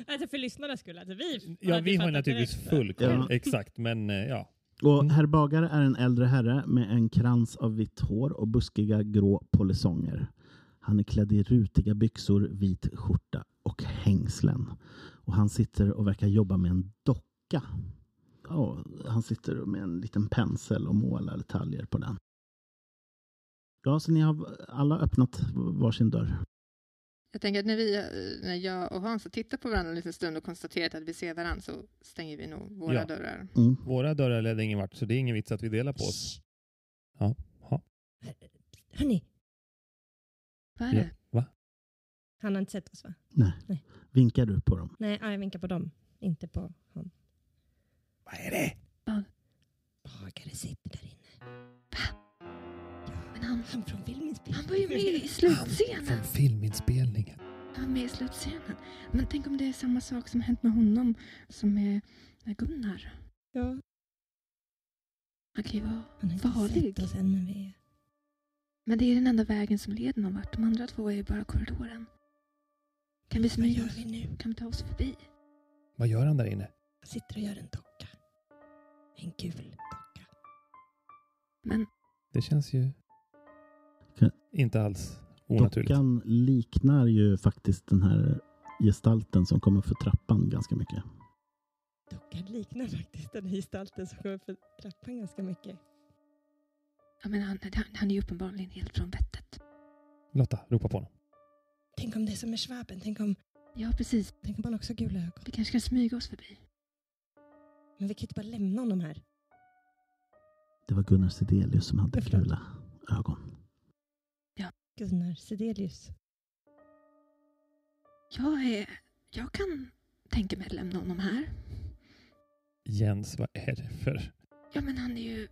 S5: Alltså för lyssnarnas skull. Alltså vi,
S3: Ja, vi har naturligtvis full koll.
S1: Ja.
S3: Exakt, men eh, ja.
S1: Och herr Bagare är en äldre herre med en krans av vitt hår och buskiga grå polisonger. Han är klädd i rutiga byxor, vit skjorta och hängslen. Och han sitter och verkar jobba med en docka. Ja, han sitter med en liten pensel och målar detaljer på den. Ja, så ni har alla öppnat varsin dörr.
S4: Jag tänker att när, vi, eh, när jag och Hans har tittat på varandra en liten stund och konstaterat att vi ser varandra så stänger vi nog våra
S3: Ja.
S4: dörrar.
S1: Mm.
S3: Våra dörrar ledde ingen vart, så det är ingen vits att vi delar på oss.
S5: Hörni,
S4: Vad är det?
S5: han har inte sett oss va?
S1: Vinkar du på dem?
S5: Nej, ja, jag vinkar på dem. Inte på honom.
S3: Vad är det?
S5: Bagare sitter där inne.
S4: Men han,
S5: Han från filminspelningen.
S4: han var ju med i slutscenen.
S3: Från filminspelningen.
S4: Han var med i slutscenen. Men tänk om det är samma sak som hänt med honom som med med Gunnar.
S5: Ja,
S4: Han kan ju vara...
S5: han har inte
S4: Farlig.
S5: sett oss än men vi...
S4: Men det är den enda vägen som leder någon vart. De andra två är ju bara korridoren. Kan vi
S5: Vad
S4: smyga
S5: gör
S4: oss?
S5: vi nu?
S4: Kan vi ta oss förbi?
S3: Vad gör han där inne?
S5: Han sitter och gör en docka. En gul docka.
S4: Men
S3: Det känns ju
S1: Kan-
S3: inte alls onaturligt.
S1: Dockan liknar ju faktiskt den här gestalten som kommer för trappan ganska mycket.
S5: Dockan liknar faktiskt den här gestalten som går upp för trappan ganska mycket.
S4: Jag menar, han, han, han är ju uppenbarligen helt från vettet.
S3: Lotta, ropa på honom.
S5: Tänk om det är som med schwaben. Tänk om,
S4: Ja, precis.
S5: tänk om han också har gula ögon.
S4: Vi kanske kan smyga oss förbi.
S5: Men vi kan ju inte bara lämna honom här.
S1: Det var Gunnar Sidelius som hade
S5: Ja, förlåt.
S1: gula ögon.
S5: Gunnar Sidelius.
S4: Jag är... Jag kan tänka mig att lämna honom här.
S3: Jens, vad är det för...
S4: Ja, men han är ju...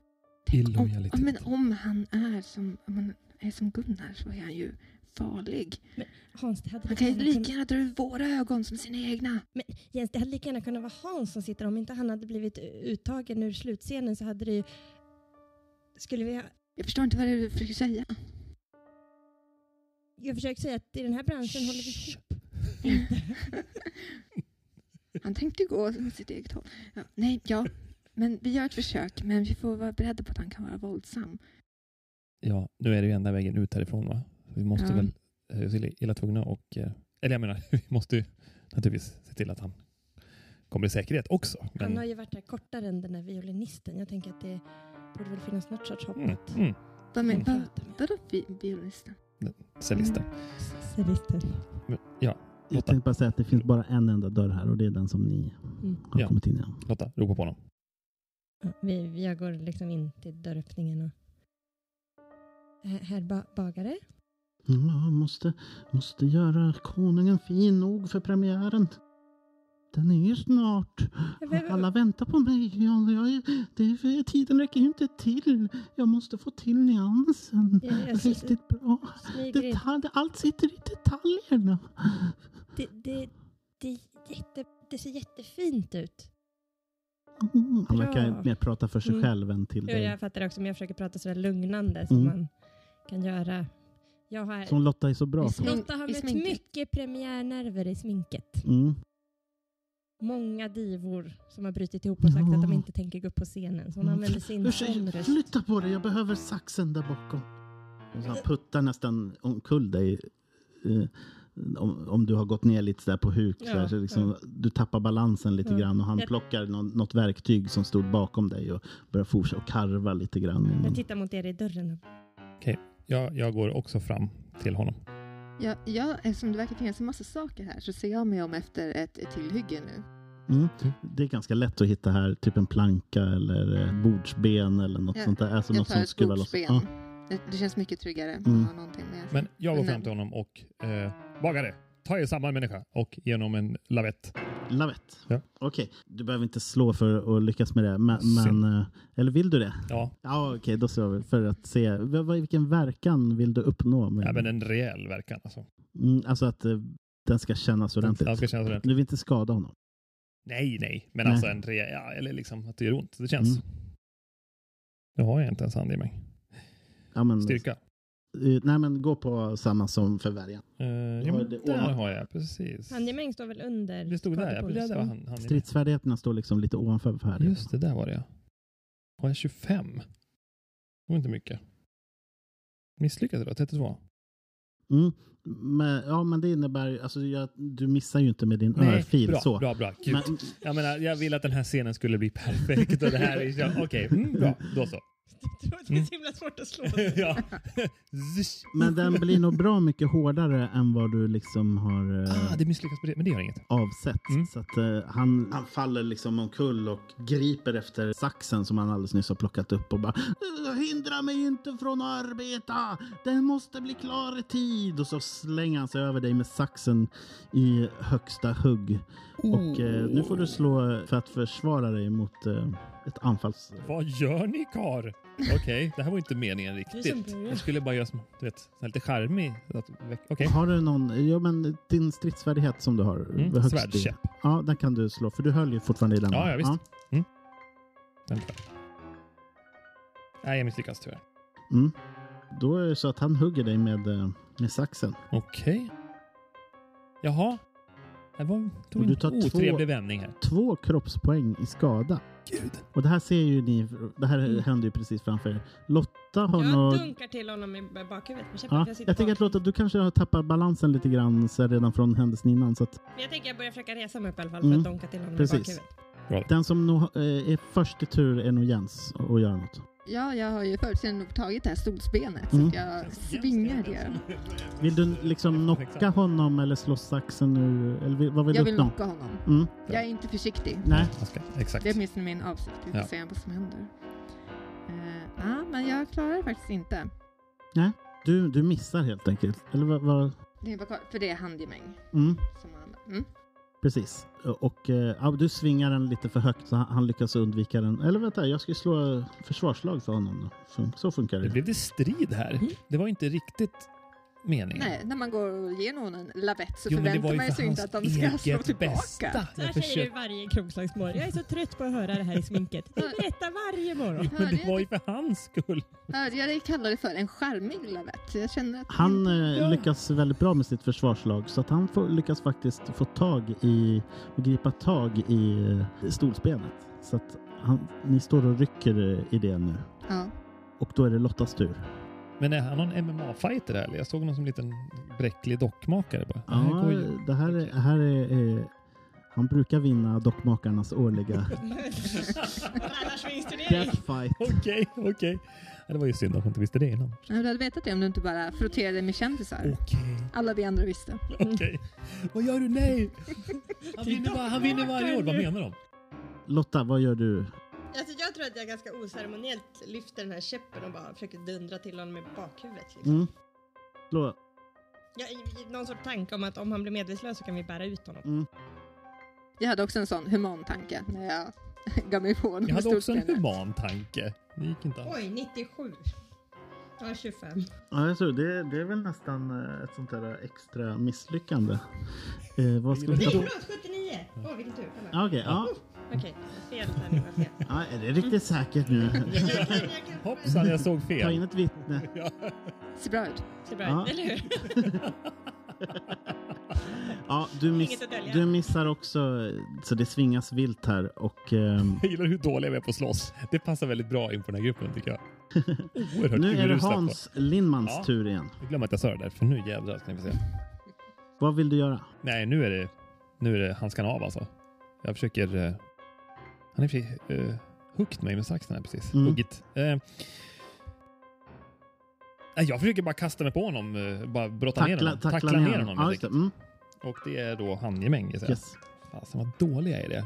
S4: Om,
S3: Illojalitet.
S4: ja, men om han är som, om han är som Gunnar så är han ju farlig.
S5: Hans, det hade
S4: Han
S5: lika
S4: kan ju
S5: gärna
S4: lika
S5: kunnat-
S4: gärna dra ut våra ögon som sina egna.
S5: Men Jens, det hade lika gärna kunnat vara Hans som sitter. Om inte han hade blivit uttagen ur slutscenen så hade det ju... Skulle vi ha...
S4: Jag förstår inte vad det är du försöker säga.
S5: Jag försöker säga att i den här branschen håller vi
S3: Shh.
S5: ihop.
S4: Han tänkte gå åt sitt eget håll. Ja, nej, ja. Men vi gör ett försök, men vi får vara beredda på att han kan vara våldsam.
S3: Ja, nu är det ju enda vägen ut härifrån va? Vi måste
S4: Ja.
S3: väl... eh, Vi är illa tvungna och... eh, Eller jag menar, vi måste ju naturligtvis se till att han kommer i säkerhet också.
S5: Han
S3: Men...
S5: har ju varit här kortare än den där violinisten. Jag tänker att det borde väl finnas något sorts hopp
S3: Mm,
S5: att...
S3: mm.
S4: Vem är,
S3: Mm.
S4: vad, vadå bi- violinisten?
S3: Cellisten.
S4: Mm.
S5: Celister.
S3: Men, ja,
S1: Jag
S3: Lotta.
S1: tänkte bara säga att det finns bara en enda dörr här och det är den som ni
S5: Mm.
S1: har
S3: Ja.
S1: kommit in genom.
S3: Lotta, ropa på honom.
S5: Ja, vi, vi- jag går liksom in till dörröppningen och... Här, här ba, bagare?
S1: Mm, Ja, jag måste, måste göra konungen fin nog för premiären. Den är ju snart.
S5: Ja, vem-
S1: Alla väntar på mig. Jag, jag, är- det, är- tiden räcker ju inte till. Jag måste få till nyansen.
S5: Jag, jag sm-
S1: Riktigt bra.
S5: smyger in.
S1: Detalj, allt sitter i detaljerna.
S5: Det, det, det, är jätte, det ser jättefint ut.
S1: Mm, Han verkar
S5: Bra.
S1: mer prata för sig
S5: Mm.
S1: själv än till
S5: Jo,
S1: dig.
S5: jag fattar också, men jag försöker prata sådär lugnande som
S1: Mm.
S5: man kan göra. Jag har,
S1: Som Lotta är så bra på.
S4: Smink-
S5: Lotta har
S4: i
S5: mött
S4: sminket.
S5: mycket premiärnerver i sminket.
S1: Mm.
S5: Många divor som har brutit ihop och sagt
S1: Ja.
S5: att de inte tänker gå upp på scenen. Så hon
S1: Mm.
S5: använder sin sån
S1: Ursäkta,
S5: röst.
S1: flytta på dig. Jag behöver saxen där bakom. Och så han puttar nästan omkull dig. eh, Om, om du har gått ner lite så där på huk. så
S5: Ja,
S1: där, så liksom, Du tappar balansen lite
S5: Ja.
S1: grann och han
S5: Jag-
S1: plockar nå- något verktyg som stod bakom dig och börjar fortsätta och karva lite grann. i någon-
S5: Jag tittar mot er i dörren.
S3: Jag, jag går också fram till honom.
S4: Ja, jag, eftersom det verkar finnas en massa saker här så ser jag mig om efter ett, ett tillhygge nu.
S1: Mm. Det är ganska lätt att hitta här, typ en planka eller eh, bordsben eller något
S4: Ja,
S1: sånt där. Alltså
S4: Jag
S1: något
S4: tar
S1: som
S4: ett
S1: skruvar loss.
S4: bordsben.
S1: Ja.
S4: Det, det känns mycket tryggare. att
S1: Mm.
S4: ha någonting med.
S3: Men jag går
S4: Men-
S3: fram till honom och eh, bagare, ta er samman människa och genom en lavett.
S1: Lavett.
S3: Ja.
S1: Okej, du behöver inte slå för att lyckas med det. Men,
S3: Synd.
S1: men, eh, eller vill du det?
S3: Ja,
S1: Ja, okej, då slår vi för att se. Vad- vad- Vilken verkan vill du uppnå? Med,
S3: ja men en rejäl verkan alltså.
S1: mm, alltså att eh, den ska kännas ordentligt.
S3: Den ska kännas ordentligt.
S1: Du vill inte skada honom.
S3: Nej, nej, men
S1: Nej.
S3: alltså en rejäl, ja, eller liksom att det gör ont. Det känns.
S1: Mm.
S3: Nu har jag inte ens hand i mig.
S1: Ja, men,
S3: Styrka.
S1: Eh, Nej, men gå på samma som för värjan.
S3: Eh, ja,
S1: har
S3: men
S1: det
S3: där
S1: ovan-
S3: har jag, precis.
S5: Handgemäng står väl under?
S3: Det stod där, ja.
S5: skadepolsen?
S3: Det där var han, han
S1: Stridsfärdigheterna står liksom lite ovanför värjan.
S3: Mm. Just det, där var det ja. Har jag 25? Det var inte mycket. Misslyckades då? 32?
S1: Mm. Men, ja, men det innebär ju, alltså, jag, du missar ju inte med din örfil
S3: bra,
S1: så.
S3: bra, bra. Gud.
S1: Men,
S3: Jag menar, jag vill att den här scenen skulle bli perfekt och det här är... ja, Okej, mm, bra. Då så.
S5: Det var-
S1: Mm.
S5: det är så himla svårt att slå.
S3: ja. Zisch.
S1: men den blir nog bra mycket hårdare än vad du liksom har eh,
S3: Ah, det misslyckas på det, men det gör inget.
S1: avsett.
S3: Mm.
S1: Så att eh, han, han faller liksom omkull och griper efter saxen som han alldeles nyss har plockat upp och bara "Eh, Hindra mig inte från att arbeta! Den måste bli klar i tid! Och så slänger han sig över dig med saxen i högsta hugg. Och eh, nu får du slå för att försvara dig mot eh, ett anfalls...
S3: Vad gör ni kar? Okej, det här var inte meningen
S5: Du som
S3: riktigt.
S5: börjar.
S3: Jag skulle bara göra som, du vet, så här lite charmig. så att väck- Okej.
S1: Har du någon, ja men din stridsfärdighet som du har.
S3: Mm,
S1: högst i-
S3: Svärdskäpp.
S1: Ja, den kan du slå för du höll ju fortfarande i den.
S3: Ja,
S1: va?
S3: ja, visst. Mm. Den tar jag. Nej, jag misslyckas tyvärr.
S1: Mm. Då är det så att han hugger dig med, eh, med saxen.
S3: Okej. Jaha. Det var,
S1: Och
S3: tog en
S1: du tar två-
S3: otrevlig vändning här.
S1: Två kroppspoäng i skada.
S3: Gud.
S1: Och det här ser ju ni, det här
S5: Mm.
S1: händer ju precis framför er. Lotta har nog...
S5: Jag dunkar till honom i bakhuvudet med käppen.
S1: Ja,
S5: för sitter
S1: jag tänker
S5: bak.
S1: att Lotta, du kanske har tappat balansen lite grann så här redan från händelsen innan. Så att
S5: Men jag tänker jag börjar försöka resa mig upp i alla fall
S1: Mm.
S5: för att dunka till honom
S1: Precis.
S5: i bakhuvudet.
S1: den som nog eh, är först i tur är nog Jens att göra något.
S4: Ja, jag har ju förutseende nog tagit det här stolsbenet
S1: Mm.
S4: så att jag Äh, svingar det.
S1: Vill du liksom knocka honom eller slå saxen nu? Eller vill- vad vill
S4: Jag
S1: du
S4: vill
S1: uppnå?
S4: knocka honom.
S1: Mm.
S4: Jag är inte försiktig.
S1: Nej.
S3: Han ska- Exakt.
S4: Det är åtminstone min avsikt. Vi får
S3: Ja.
S4: se vad som händer. Eh, ja, men jag klarar det faktiskt inte.
S1: Du, du missar helt enkelt. Eller vad? vad?
S4: Det är bara, kvar- för det är handgemäng.
S1: Mm.
S4: Som man, mm.
S1: Precis. Och eh, ja, du svingar den lite för högt så han, han lyckas undvika den. Eller vänta, jag ska ju slå försvarslag för honom då. Fun- Så funkar
S3: Nu
S1: det.
S3: blev det strid här. Det var inte riktigt meningen.
S4: Mm. Nej, när man går och ger någon en lavett så
S3: Jo, men det var
S4: förväntar
S3: ju
S4: man
S3: för
S4: sig inte att de
S3: hans
S4: ska slå
S3: eget
S4: tillbaka.
S3: Bästa.
S5: Så här
S3: Jag
S5: säger du
S3: försökte.
S5: varje krogslagsmål. Jag är så trött på att höra det här i sminket. Du berättar varje morgon.
S3: Men det var ju för hans skull.
S4: Hörde jag dig kalla det för en charmig lavett? Jag känner att...
S1: Han eh,
S3: Ja.
S1: lyckas väldigt bra med sitt försvarslag så att han får, lyckas faktiskt få tag i och gripa tag i eh, stolsbenet. Så att han, ni står och rycker eh, i det nu.
S4: Ja.
S1: Och då är det Lottas tur.
S3: Men är han någon MMA-fighter där, eller? Jag såg någon som en liten bräcklig dockmakare bara. Det här
S1: Ja,
S3: går ju-
S1: det här, är- här är... Eh, han brukar vinna dockmakarnas årliga
S5: Annars finns det det.
S1: death fight.
S3: Okej, okej. det var ju synd att man inte visste det innan.
S1: Ah.
S4: Men Du hade vetat det om du inte bara frotterade med kändisar.
S3: Okej.
S4: Alla vi andra visste.
S3: Okej. Vad gör du? Nej! Han vinner, var, han vinner varje år. Vad menar de?
S1: Lotta, vad gör du?
S5: Alltså jag tror att jag ganska oceremoniellt lyfter den här käppen och bara försöker dundra till honom i bakhuvudet. Liksom.
S1: Mm. Lo-
S5: Jag, i- i någon sorts tanke om att om han blir medvetslös så kan vi bära ut honom.
S4: Jag hade också en sån human tanke när jag gav mig på honom
S3: Jag
S4: med
S3: hade också en
S4: storspelare.
S3: human tanke. Det gick inte alls.
S5: Oj, 97. Ja, 25.
S1: Ja, jag tror det, det är väl nästan eh, ett sånt där extra misslyckande. Eh, vad ska vi
S5: Nej,
S1: ta på?
S5: förlåt, 79! Åh, vilken tur. Kolla.
S1: Ja, Okej, ja.
S5: Okej, fel där nu. vad Fel.
S1: ja. Är det riktigt säkert nu?
S5: Jag, jag, kan- jag kan...
S3: Hoppsan, jag såg
S1: Ta in
S3: fel.
S1: ett vittne.
S4: Ser bra ut.
S5: Ser bra
S1: Ja.
S5: ut, eller hur?
S1: Ja, du, miss,
S5: Inget att dölja.
S1: du missar också, eh, så det svingas vilt här. Och ehm,
S3: Jag gillar hur dåliga vi är på att slåss. Det passar väldigt bra in på den här gruppen tycker jag. Oerhört
S1: nu är det
S3: urusla på-
S1: Hans Lindmans
S3: Ja.
S1: tur igen.
S3: Jag glömmer att jag sa det där, för nu jävlar ska ni få se.
S1: Vad vill du göra?
S3: Nej, nu är det, nu är det handskarna av alltså. Jag försöker... eh, han är fri, uh, huggt mig med saxen här precis.
S1: Mm.
S3: Huggit. Eh, nej, jag försöker bara kasta mig på honom. eh, bara brotta ner honom. Tackla, ner honom.
S1: Ja,
S3: helt
S1: just det.
S3: enkelt.
S1: Mm,
S3: Och det är då handgemäng gissar jag.
S1: yes.
S3: Fasen vad dåliga är det.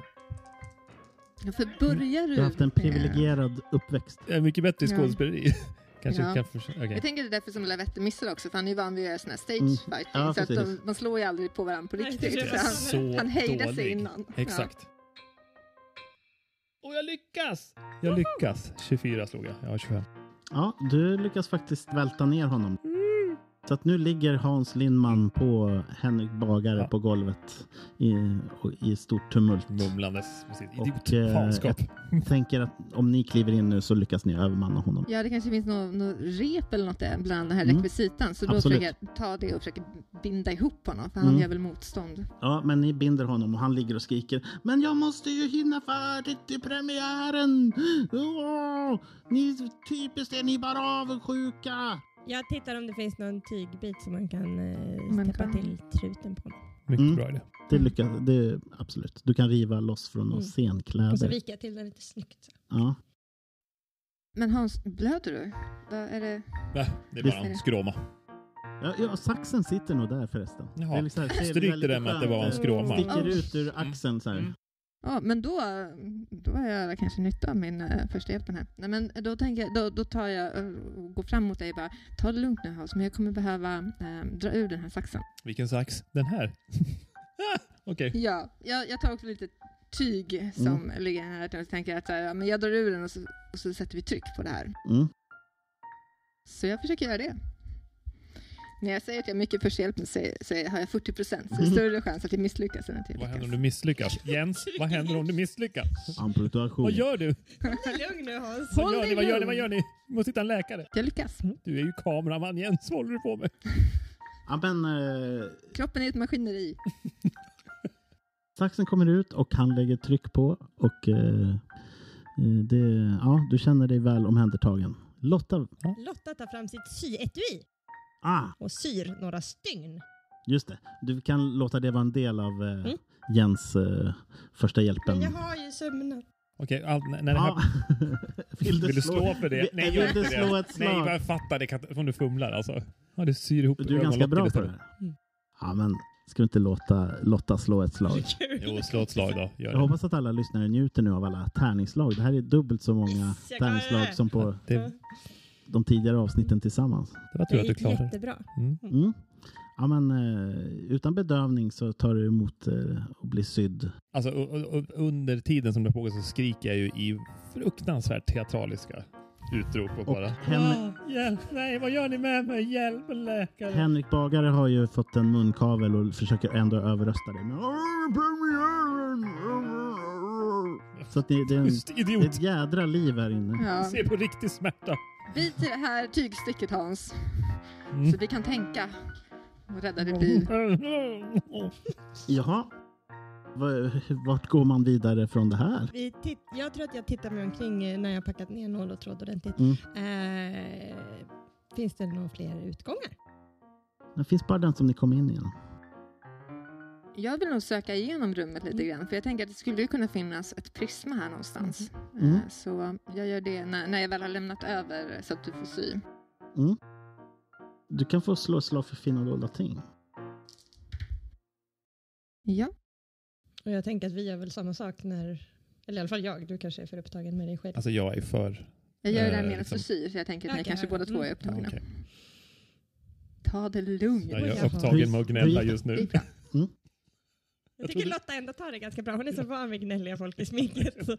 S4: Ja, För börjar du...
S1: Du har haft en
S4: med-
S1: privilegierad uppväxt.
S3: Jag är mycket bättre i
S4: Ja.
S3: skådespeleri. Kanske
S4: Ja.
S3: kan försöka.
S4: Jag tänker det är därför som Lavette missar också, för han är ju van vid att göra såna här stage
S1: Mm.
S4: fighting.
S1: Ja,
S4: så att de,
S1: precis.
S4: man slår ju aldrig på varandra på
S5: Nej, det
S4: riktigt. Alltså.
S5: är
S4: Så han,
S5: sant.
S3: Så
S4: han hejdar sig
S3: dålig.
S4: innan. Ja.
S3: Exakt. Och jag lyckas! Jag lyckas. 24 slog jag. Jag har 25.
S1: Ja, du lyckas faktiskt välta ner honom.
S5: Mm.
S1: Så att nu ligger Hans Lindman på Henrik Bagare
S3: Ja.
S1: på golvet i, och i stort tumult.
S3: Mumlandes. Precis.
S1: Och,
S3: Idiot.
S1: eh,
S3: Fanskap.
S1: Tänker att om ni kliver in nu så lyckas ni övermanna honom.
S4: Ja, det kanske finns något nå rep eller något där bland den här
S1: Mm.
S4: rekvisitan. Så då
S1: Absolut.
S4: försöker jag ta det och försöker binda ihop honom, för
S1: Mm.
S4: han gör väl motstånd.
S1: Ja, men ni binder honom och han ligger och skriker. Men jag måste ju hinna färdigt till premiären! Åh, ni typiskt är ni bara avundsjuka!
S5: Jag tittar om det finns någon tygbit som man kan eh,
S4: Man
S5: täppa
S4: kan-
S5: till truten på. honom.
S3: Mycket
S1: Mm.
S3: bra idé.
S1: Det lyckas, det, absolut. Du kan riva loss från några
S5: Mm. Och så
S1: scenkläder.
S5: viker jag till den lite snyggt.
S1: Ja.
S4: Men Hans, blöder du? Vad är det?
S3: Nej, det är
S1: Visst
S3: bara
S4: är
S3: en
S4: det.
S3: skråma.
S1: Ja, ja, saxen sitter nog där förresten.
S3: Jaha.
S1: Det är liksom, det är
S3: Stryk det
S1: väldigt
S3: där med att det var en
S1: skönt, eh,
S3: skråma.
S1: Sticker
S4: Mm.
S1: ut ur axeln så här.
S3: Mm.
S4: Ja, men då, då har jag kanske nytta av min eh, första hjälpen här. Nej, men då tänker jag, då, då tar jag eh, och går fram mot dig och bara, ta det lugnt nu Hans, men jag kommer behöva eh, dra ur den här saxen.
S3: Vilken sax? Den här? Ah, Okej.
S4: Ja, jag, jag tar också lite tyg som ligger här och tänker att så här, ja, men jag drar ur den och så, och så sätter vi tryck på det här.
S1: Mm.
S4: Så jag försöker göra det. När jag säger att jag har mycket förshjälpning så, så har jag 40 procent, så det är större chans att jag misslyckas än att jag
S3: Vad händer om
S4: lyckas.
S3: du misslyckas? Jens, vad händer om du misslyckas?
S1: Amputation.
S3: Vad gör du?
S5: Lugn nu Hans.
S3: Vad gör ni? Vad gör ni? Vad gör ni? Vi måste hitta en läkare.
S4: Jag lyckas.
S3: Du är ju kameraman Jens. Vad håller du på med?
S1: Ja, men, eh,
S4: Kroppen är ett maskineri.
S1: saxen kommer ut och han lägger tryck på. Och eh, eh, det, ja, du känner dig väl omhändertagen. Lotta,
S5: Lotta tar fram sitt syetui
S1: ah,
S5: och syr några stygn.
S1: just det. Du kan låta det vara en del av eh,
S5: Mm.
S1: Jens eh, första hjälpen.
S5: Men jag har ju sömnat.
S3: Okej, all- när- när det här...
S1: Ja. Vill du slå
S3: för det?
S1: Vill-
S3: Nej, gör
S1: vill du
S3: inte det.
S1: slå ett slag?
S3: Nej, men jag fattar. Det kan... Om du fumlar alltså. Ja, du syr ihop
S1: Du är ganska
S3: ögonlocken
S1: bra på
S3: istället.
S1: det här.
S5: Mm.
S1: Ja, men ska vi inte låta Lotta slå ett slag?
S3: Jo, slå ett slag då. Gör
S1: Jag
S3: det.
S1: hoppas att alla lyssnare njuter nu av alla tärningsslag. Det här är dubbelt så många
S5: Yes, jag klarar
S1: tärningsslag
S5: det.
S1: som på
S3: Det,
S1: de tidigare avsnitten tillsammans.
S3: det var tur
S5: Det
S3: att du
S5: gick
S3: klarade det.
S5: jättebra.
S3: Mm.
S1: Mm. Ja, men, eh, utan bedövning så tar du emot eh, och blir sydd.
S3: Alltså, u- u- under tiden som det pågår så skriker jag ju i fruktansvärt teatraliska utrop och
S1: Och
S3: bara...
S1: Hen-
S3: "Ah, hjälp! Nej, vad gör ni med mig? Hjälp läkare!
S1: Henrik Bagare har ju fått en munkavel och försöker ändå överrösta dig. Men, "Åh, premiären!" Så att det, det, är en,
S3: Tyst
S1: det är
S3: idiot!
S1: ett jädra liv här inne.
S4: Ja.
S3: Se på riktig smärta.
S4: Bit i det här tygstycket Hans,
S3: Mm.
S4: så vi kan tänka och rädda ditt liv.
S1: Jaha. Va- Vart går man vidare från det här?
S5: Vi titt- jag tror att jag tittar mig omkring eh, när jag packat ner nål och tråd ordentligt.
S1: Mm.
S5: Eh, finns det några fler utgångar?
S1: Det finns bara den som ni kom in genom.
S4: Jag vill nog söka igenom rummet lite grann för jag tänker att det skulle ju kunna finnas ett prisma här någonstans.
S1: Mm.
S4: Eh, Så jag gör det när, när jag väl har lämnat över så att du får sy.
S1: Mm. Du kan få slå ett slag för finna dolda ting.
S4: Ja,
S5: Och jag tänker att vi gör väl samma sak när, eller i alla fall jag, du kanske är för upptagen med dig själv.
S3: Alltså jag är för...
S4: jag gör det här
S3: Eh,
S4: medan
S3: liksom-
S4: du syr så jag tänker att ni
S5: Okej,
S4: kanske
S5: ja,
S4: båda
S5: ja.
S4: två är
S5: Mm.
S3: Ja,
S4: upptagna.
S3: okej.
S4: Ta det lugnt.
S3: ja, jag är
S5: Jaha.
S3: upptagen med att gnälla
S1: Vi-
S3: just
S4: Det är
S3: nu.
S4: bra. Mm.
S5: jag
S3: trodde-
S5: tycker Lotta ändå tar det ganska bra. Hon är så van vid gnälliga folk i sminket. Så,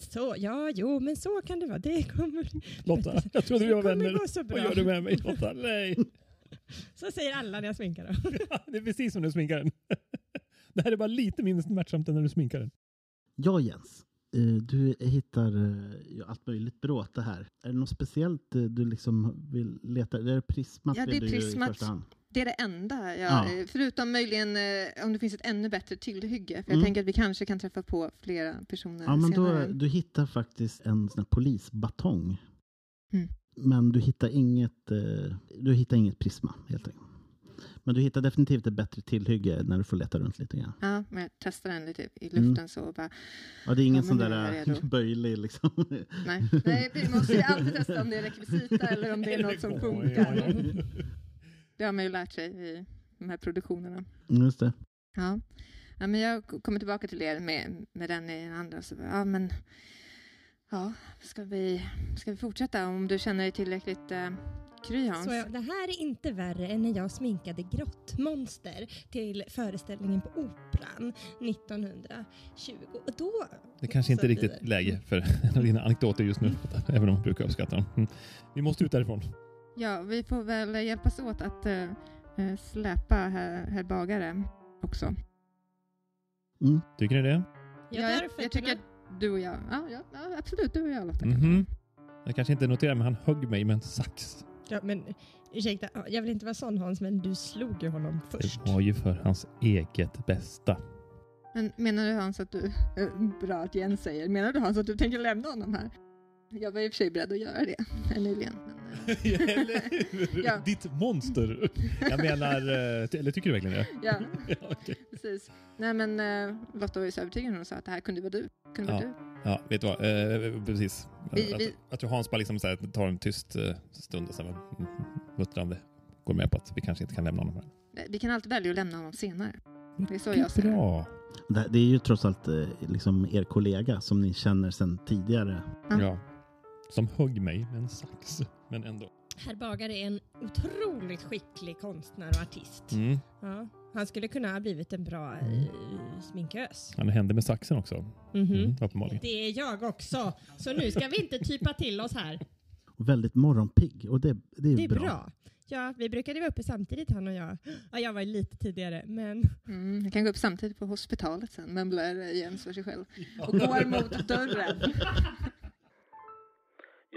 S5: så, ja, jo, men så kan det vara. Det kommer,
S3: Lotta, jag trodde vi
S5: det
S3: var vänner.
S5: kommer gå så
S3: Vad
S5: bra.
S3: gör du med mig Lotta? Nej!
S5: Så säger alla när jag sminkar dem.
S3: Det är precis som när du sminkar den. Det här är bara lite mindre smärtsamt än när du sminkar den.
S1: Ja, Jens. eh, Du hittar eh, ju allt möjligt bråte här. Är det något speciellt eh, du liksom vill leta? Det är prismat
S4: Ja, det
S1: vill
S4: är
S1: du ju
S4: prismat.
S1: i första hand.
S4: Det är det enda. Jag,
S1: Ja.
S4: eh, Förutom möjligen eh, om det finns ett ännu bättre tillhygge. För jag
S1: Mm.
S4: tänker att vi kanske kan träffa på flera personer
S1: Ja, men
S4: senare.
S1: då, du hittar faktiskt en sån här polisbatong.
S4: Mm.
S1: Men du hittar, inget, eh, du hittar inget prisma helt enkelt. Men du hittar definitivt ett bättre tillhygge när du får leta runt lite grann.
S4: Ja, men jag testar den lite i
S1: Mm.
S4: luften så och bara,
S1: Ja, det är ingen
S4: Ja,
S1: sån
S4: men nu är
S1: där
S4: jag
S1: eh,
S4: redo.
S1: böjlig liksom.
S4: nej, nej, vi måste ju alltid testa om det är rekvisita eller om det är något som funkar. Det har man ju lärt sig i de här produktionerna.
S1: Just det.
S4: Ja. ja men jag k- kommer tillbaka till er med, med den i den andra. Så, bara, ja, men, ja, ska, vi, ska vi fortsätta om du känner dig tillräckligt eh, kry Hans?
S5: Så jag, det här är inte värre än när jag sminkade grottmonster till föreställningen på Operan 1920. Och då...
S3: Det kanske inte är
S5: Så Mm.
S3: riktigt
S5: vidare.
S3: läge för en av dina anekdoter just nu, Lotta, även om jag brukar uppskatta dem. Mm. Vi måste ut därifrån.
S4: Ja, vi får väl hjälpas åt att eh, eh, släpa herr, herr bagare också.
S1: Mm.
S3: Tycker ni det?
S5: Jag
S4: Ja, jag,
S5: tar fötterna.
S4: jag tycker att du och jag, ja, ja, ja absolut, du och jag Lotta.
S3: Mhm. Jag kanske inte noterar, men han högg mig med en sax.
S5: Ja, men ursäkta, ja, jag vill inte vara sån Hans, men du slog ju honom först.
S3: Det var ju för hans eget bästa.
S4: Men menar du Hans att du, eh, bra att Jens säger, menar du Hans att du tänker lämna honom här? Jag var i och för sig beredd att göra det här nyligen. Men, eh, Ja.
S3: Ditt monster! Jag menar, eh, ty- eller tycker du verkligen det?
S4: ja,
S3: Ja, okej.
S4: precis. Nej men eh, Lotta var ju så övertygad när hon sa att det här kunde vara du. Kunde vara
S3: Ja.
S4: du.
S3: Ja, vet du vad? Eh, precis.
S4: Vi-
S3: att,
S4: vi-
S3: att Hans bara liksom så här, tar en tyst eh, stund och sen bara, mm, muttrande går med på att vi kanske inte kan lämna honom här.
S4: Nej, Vi kan alltid välja att lämna honom senare. Det är så jag ser det.
S3: Bra!
S1: det. Det är ju trots allt eh, liksom er kollega som ni känner sedan tidigare.
S4: Ja.
S3: Ja. Som högg mig med en sax. Men ändå.
S5: Herr Bagare är en otroligt skicklig konstnär och artist.
S3: Mm.
S5: Ja, han skulle kunna ha blivit en bra eh, sminkös.
S3: Han hände med saxen också.
S5: Mhm.
S3: Mm, uppenbarligen.
S5: Det är jag också, så nu ska vi inte typa till oss här.
S1: Och väldigt morgonpigg och det, det är,
S5: Det är
S1: bra.
S5: bra. Ja, vi brukade vara uppe samtidigt han och jag. Ja, jag var ju lite tidigare, men
S4: Mm, jag kan gå upp samtidigt på hospitalet sen, mumlar Jens för sig själv. Och går mot dörren.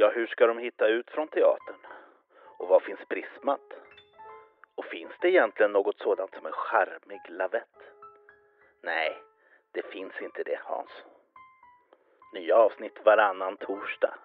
S2: Ja, hur ska de hitta ut från teatern? Och vad finns prismat? Och finns det egentligen något sådant som en charmig lavett? Nej, det finns inte det, Hans. Nya avsnitt varannan torsdag.